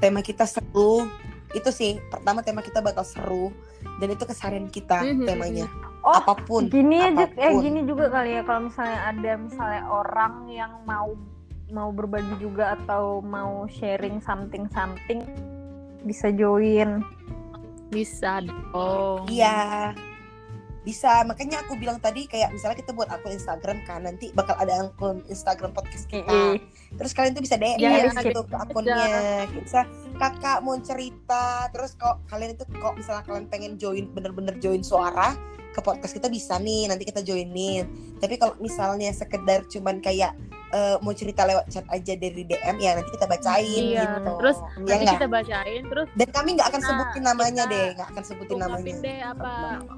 [SPEAKER 1] tema kita seru itu sih pertama tema kita bakal seru dan itu keseharian kita
[SPEAKER 3] Mhm.
[SPEAKER 1] temanya
[SPEAKER 2] Oh,
[SPEAKER 1] apapun
[SPEAKER 2] gini aja eh
[SPEAKER 1] apapun.
[SPEAKER 2] gini juga kali ya kalau misalnya ada misalnya orang yang mau mau berbagi juga atau mau sharing something something bisa join
[SPEAKER 3] bisa dong
[SPEAKER 1] Iya. Bisa, makanya aku bilang tadi kayak misalnya kita buat akun Instagram kan, nanti bakal ada akun Instagram podcast kita.
[SPEAKER 2] Ih,
[SPEAKER 1] Terus kalian tuh bisa DM
[SPEAKER 3] Iya,
[SPEAKER 1] gitu ke akunnya. Kayak Bisa kakak mau cerita, terus kok kalian itu kok misalnya kalian pengen join bener-bener join suara ke podcast kita bisa nih, nanti kita joinin. Tapi kalau misalnya sekedar cuman kayak eh, mau cerita lewat chat aja dari DM ya nanti kita bacain
[SPEAKER 3] Iya,
[SPEAKER 1] gitu.
[SPEAKER 3] terus
[SPEAKER 1] ya
[SPEAKER 3] nanti
[SPEAKER 1] nggak?
[SPEAKER 3] kita bacain terus
[SPEAKER 1] Dan kami nggak akan
[SPEAKER 3] Nah,
[SPEAKER 1] sebutin namanya
[SPEAKER 3] kita
[SPEAKER 1] deh, nggak akan sebutin namanya.
[SPEAKER 3] ungkapin deh apa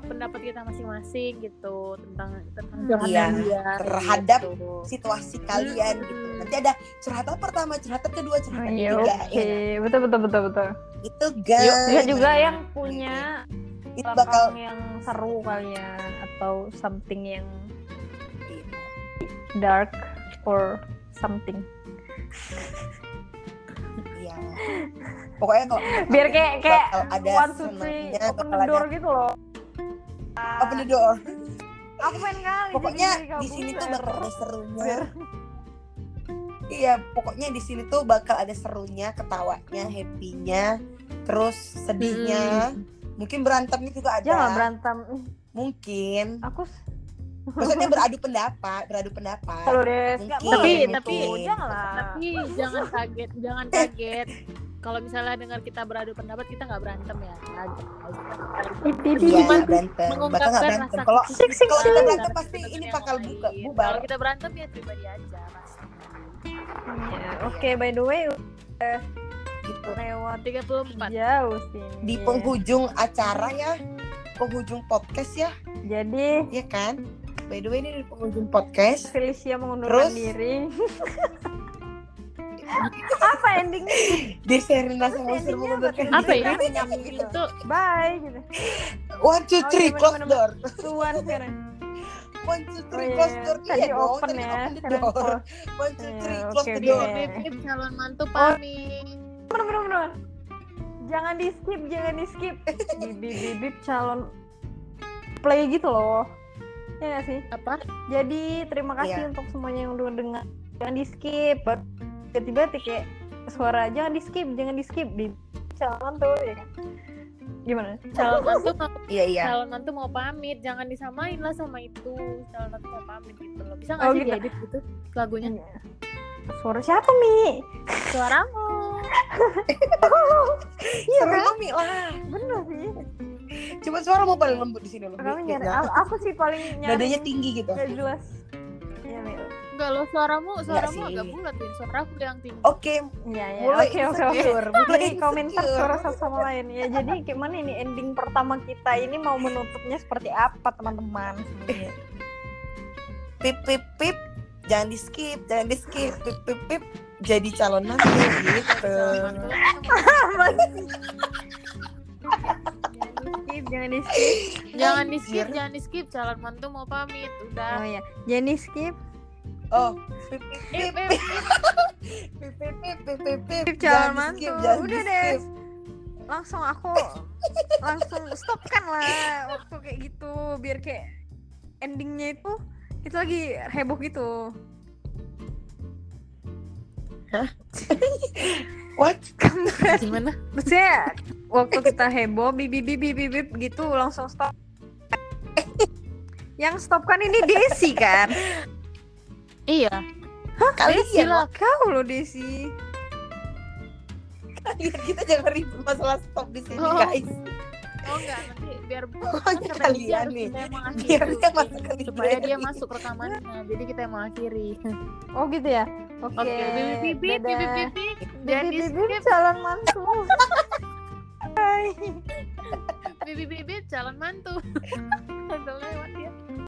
[SPEAKER 3] pendapat kita masing-masing gitu tentang tentang
[SPEAKER 2] Iya,
[SPEAKER 3] curhatan dia
[SPEAKER 1] terhadap
[SPEAKER 3] gitu.
[SPEAKER 1] situasi kalian gitu. Nanti ada curhatan pertama, curhatan kedua, curhatan
[SPEAKER 2] iya,
[SPEAKER 1] ketiga.
[SPEAKER 2] oke
[SPEAKER 1] ya.
[SPEAKER 2] betul betul betul betul
[SPEAKER 1] Itu guys.
[SPEAKER 2] bisa juga yang punya
[SPEAKER 1] itu Iya,
[SPEAKER 2] belakang
[SPEAKER 1] bakal
[SPEAKER 2] yang seru kalian atau something yang dark or something
[SPEAKER 1] iya. Pokoknya kalau
[SPEAKER 2] (laughs) biar kayak kayak
[SPEAKER 1] Bakal ada
[SPEAKER 2] one two three
[SPEAKER 1] senangnya,
[SPEAKER 2] open
[SPEAKER 1] bakal
[SPEAKER 2] the
[SPEAKER 1] ada-
[SPEAKER 2] door gitu loh
[SPEAKER 1] open the door.
[SPEAKER 2] aku pengen kali jadi gitu.
[SPEAKER 1] Pokoknya
[SPEAKER 2] diri kamu
[SPEAKER 1] di sini tuh
[SPEAKER 2] share.
[SPEAKER 1] bakal ada serunya. Iya, pokoknya di sini tuh bakal ada serunya, ketawanya,
[SPEAKER 2] Hmm.
[SPEAKER 1] happy-nya, terus sedihnya. Mungkin berantemnya juga ada.
[SPEAKER 2] jangan berantem
[SPEAKER 1] Mungkin.
[SPEAKER 2] (laughs) aku s-
[SPEAKER 1] Maksudnya beradu pendapat, beradu pendapat.
[SPEAKER 2] kalau deh nggak
[SPEAKER 1] Mungkin.
[SPEAKER 2] boleh
[SPEAKER 3] Tapi- tapi-
[SPEAKER 2] gitu. jangan lah
[SPEAKER 1] (laughs)
[SPEAKER 3] tapi jangan kaget jangan kaget kalau misalnya dengar kita beradu pendapat kita nggak berantem ya
[SPEAKER 1] Eh, Iya,
[SPEAKER 3] Cuman
[SPEAKER 1] berantem. Bakal nggak
[SPEAKER 3] mengungkapkan
[SPEAKER 1] berantem.
[SPEAKER 3] rasa
[SPEAKER 1] Kalau
[SPEAKER 2] Sik,
[SPEAKER 1] kalau
[SPEAKER 2] sik, sik.
[SPEAKER 1] kita
[SPEAKER 3] kesal
[SPEAKER 1] berantem
[SPEAKER 3] terhadap
[SPEAKER 1] pasti
[SPEAKER 3] satu
[SPEAKER 1] ini
[SPEAKER 3] dengan
[SPEAKER 1] bakal
[SPEAKER 3] yang
[SPEAKER 1] buka
[SPEAKER 3] lain.
[SPEAKER 1] bubar.
[SPEAKER 3] kalau kita berantem ya pribadi aja pasti
[SPEAKER 2] Ya, oke by the way
[SPEAKER 1] Gitu.
[SPEAKER 2] lewat
[SPEAKER 1] Iya.
[SPEAKER 3] 34
[SPEAKER 2] jauh sih ini.
[SPEAKER 1] Di penghujung acara ya, penghujung podcast ya,
[SPEAKER 2] jadi
[SPEAKER 1] ya kan? By the way ini di penghujung podcast.
[SPEAKER 2] Felicia mengundurkan
[SPEAKER 1] Terus? (laughs)
[SPEAKER 2] diri apa endingnya
[SPEAKER 1] Di Serena sama Usir
[SPEAKER 2] Endingnya
[SPEAKER 1] mengundurkan
[SPEAKER 2] apa?
[SPEAKER 3] apa ya
[SPEAKER 1] diri.
[SPEAKER 3] itu
[SPEAKER 2] bye gitu
[SPEAKER 1] One, two,
[SPEAKER 2] Oh,
[SPEAKER 1] three,
[SPEAKER 2] iya,
[SPEAKER 1] close
[SPEAKER 2] bener-bener.
[SPEAKER 1] door.
[SPEAKER 2] tuan sekarang
[SPEAKER 1] One, two,
[SPEAKER 2] oh
[SPEAKER 1] three,
[SPEAKER 2] iya
[SPEAKER 1] close door.
[SPEAKER 2] tadi
[SPEAKER 1] Iya dong,
[SPEAKER 2] open
[SPEAKER 1] tadi
[SPEAKER 2] ya
[SPEAKER 1] open the
[SPEAKER 2] sekarang
[SPEAKER 1] door.
[SPEAKER 2] close.
[SPEAKER 1] One, two,
[SPEAKER 2] Iya,
[SPEAKER 1] three, close
[SPEAKER 2] oke,
[SPEAKER 1] the
[SPEAKER 2] oke.
[SPEAKER 1] door.
[SPEAKER 3] Bibip calon mantu pamit
[SPEAKER 2] bener bener bener jangan di skip jangan di
[SPEAKER 1] (laughs)
[SPEAKER 2] skip bibip bibip calon play gitu loh ya gak sih
[SPEAKER 3] apa
[SPEAKER 2] jadi terima kasih untuk semuanya yang udah dengar jangan di skip Baru tiba-tiba kayak suara jangan di skip jangan di skip bibip calon tuh ya kan gimana
[SPEAKER 3] calon mantu mau-
[SPEAKER 1] Iya, iya.
[SPEAKER 3] calon mantu mau pamit jangan disamain lah sama itu calon mantu mau pamit gitu loh bisa nggak
[SPEAKER 2] Oh,
[SPEAKER 3] sih
[SPEAKER 2] gitu.
[SPEAKER 3] diedit gitu lagunya
[SPEAKER 1] Hmm.
[SPEAKER 2] suara siapa mi
[SPEAKER 3] suaramu
[SPEAKER 2] iya
[SPEAKER 1] Seru
[SPEAKER 2] kan
[SPEAKER 1] Mami lah.
[SPEAKER 2] bener sih
[SPEAKER 1] Cuma suara mau paling lembut di sini loh.
[SPEAKER 2] kamu
[SPEAKER 1] dikit
[SPEAKER 2] nyari
[SPEAKER 1] lah.
[SPEAKER 2] a- aku sih paling nyari
[SPEAKER 1] Dadanya tinggi gitu.
[SPEAKER 2] nggak jelas Iya, Mi.
[SPEAKER 3] enggak loh suaramu
[SPEAKER 1] Iya
[SPEAKER 3] suaramu
[SPEAKER 1] sih. Oh,
[SPEAKER 3] agak bulat ya suara aku yang tinggi
[SPEAKER 1] Oke,
[SPEAKER 2] Iya, ya.
[SPEAKER 1] Mulai
[SPEAKER 2] Oke, oke, oke.
[SPEAKER 1] insecure, mulai
[SPEAKER 2] Mulai komentar
[SPEAKER 1] insecure.
[SPEAKER 2] suara satu sama lain. Ya, jadi gimana ini ending pertama kita ini mau menutupnya seperti apa, teman-teman? sebenarnya?
[SPEAKER 1] pip pip pip jangan di skip jangan di skip pip pip pip jadi calon mantu gitu
[SPEAKER 3] calon mantu
[SPEAKER 2] Skip, jangan di skip.
[SPEAKER 3] jangan di skip
[SPEAKER 1] Anjir.
[SPEAKER 3] jangan di skip calon mantu mau pamit
[SPEAKER 1] iya.
[SPEAKER 2] Oh
[SPEAKER 3] udah
[SPEAKER 2] ya, jangan di skip.
[SPEAKER 1] oh pip pip
[SPEAKER 3] Eh,
[SPEAKER 1] pip
[SPEAKER 3] eh,
[SPEAKER 1] pip pip pip pip pip pip
[SPEAKER 2] Skip
[SPEAKER 1] jangan
[SPEAKER 2] jalan
[SPEAKER 1] di
[SPEAKER 2] mantu.
[SPEAKER 1] skip jangan di
[SPEAKER 2] Udah deh.
[SPEAKER 1] skip
[SPEAKER 2] Langsung aku langsung stopkan lah waktu kayak gitu biar kayak endingnya itu Itu lagi heboh gitu.
[SPEAKER 1] What?
[SPEAKER 2] Kamu
[SPEAKER 3] Gimana?
[SPEAKER 2] Maksudnya waktu kita heboh bip bip bip bip bip gitu langsung stop. Yang stop kan ini Desi kan?
[SPEAKER 3] Iya.
[SPEAKER 12] Oh,
[SPEAKER 1] Kalian,
[SPEAKER 3] Gila.
[SPEAKER 2] Kau loh Desi.
[SPEAKER 1] kalian (laughs) kita jangan ribut masalah stop di sini
[SPEAKER 3] Oh.
[SPEAKER 1] guys.
[SPEAKER 3] Oh enggak, nanti biar
[SPEAKER 1] Pokoknya
[SPEAKER 3] sampai dia
[SPEAKER 1] Oh, kalian
[SPEAKER 3] harus
[SPEAKER 1] nih.
[SPEAKER 3] kita yang
[SPEAKER 1] Biar dia masuk ke
[SPEAKER 3] mengakhiri dulu. supaya
[SPEAKER 1] library.
[SPEAKER 3] dia masuk rekamannya. Jadi kita yang mengakhiri.
[SPEAKER 12] Oh gitu ya? Oke.
[SPEAKER 3] Oke, bibit bibit
[SPEAKER 12] dadah.
[SPEAKER 3] bibit bibit. Jadi
[SPEAKER 12] Bibit, bibit, calon mantu.
[SPEAKER 3] bibit bibit jalan mantu. (laughs) Udah lewat ya.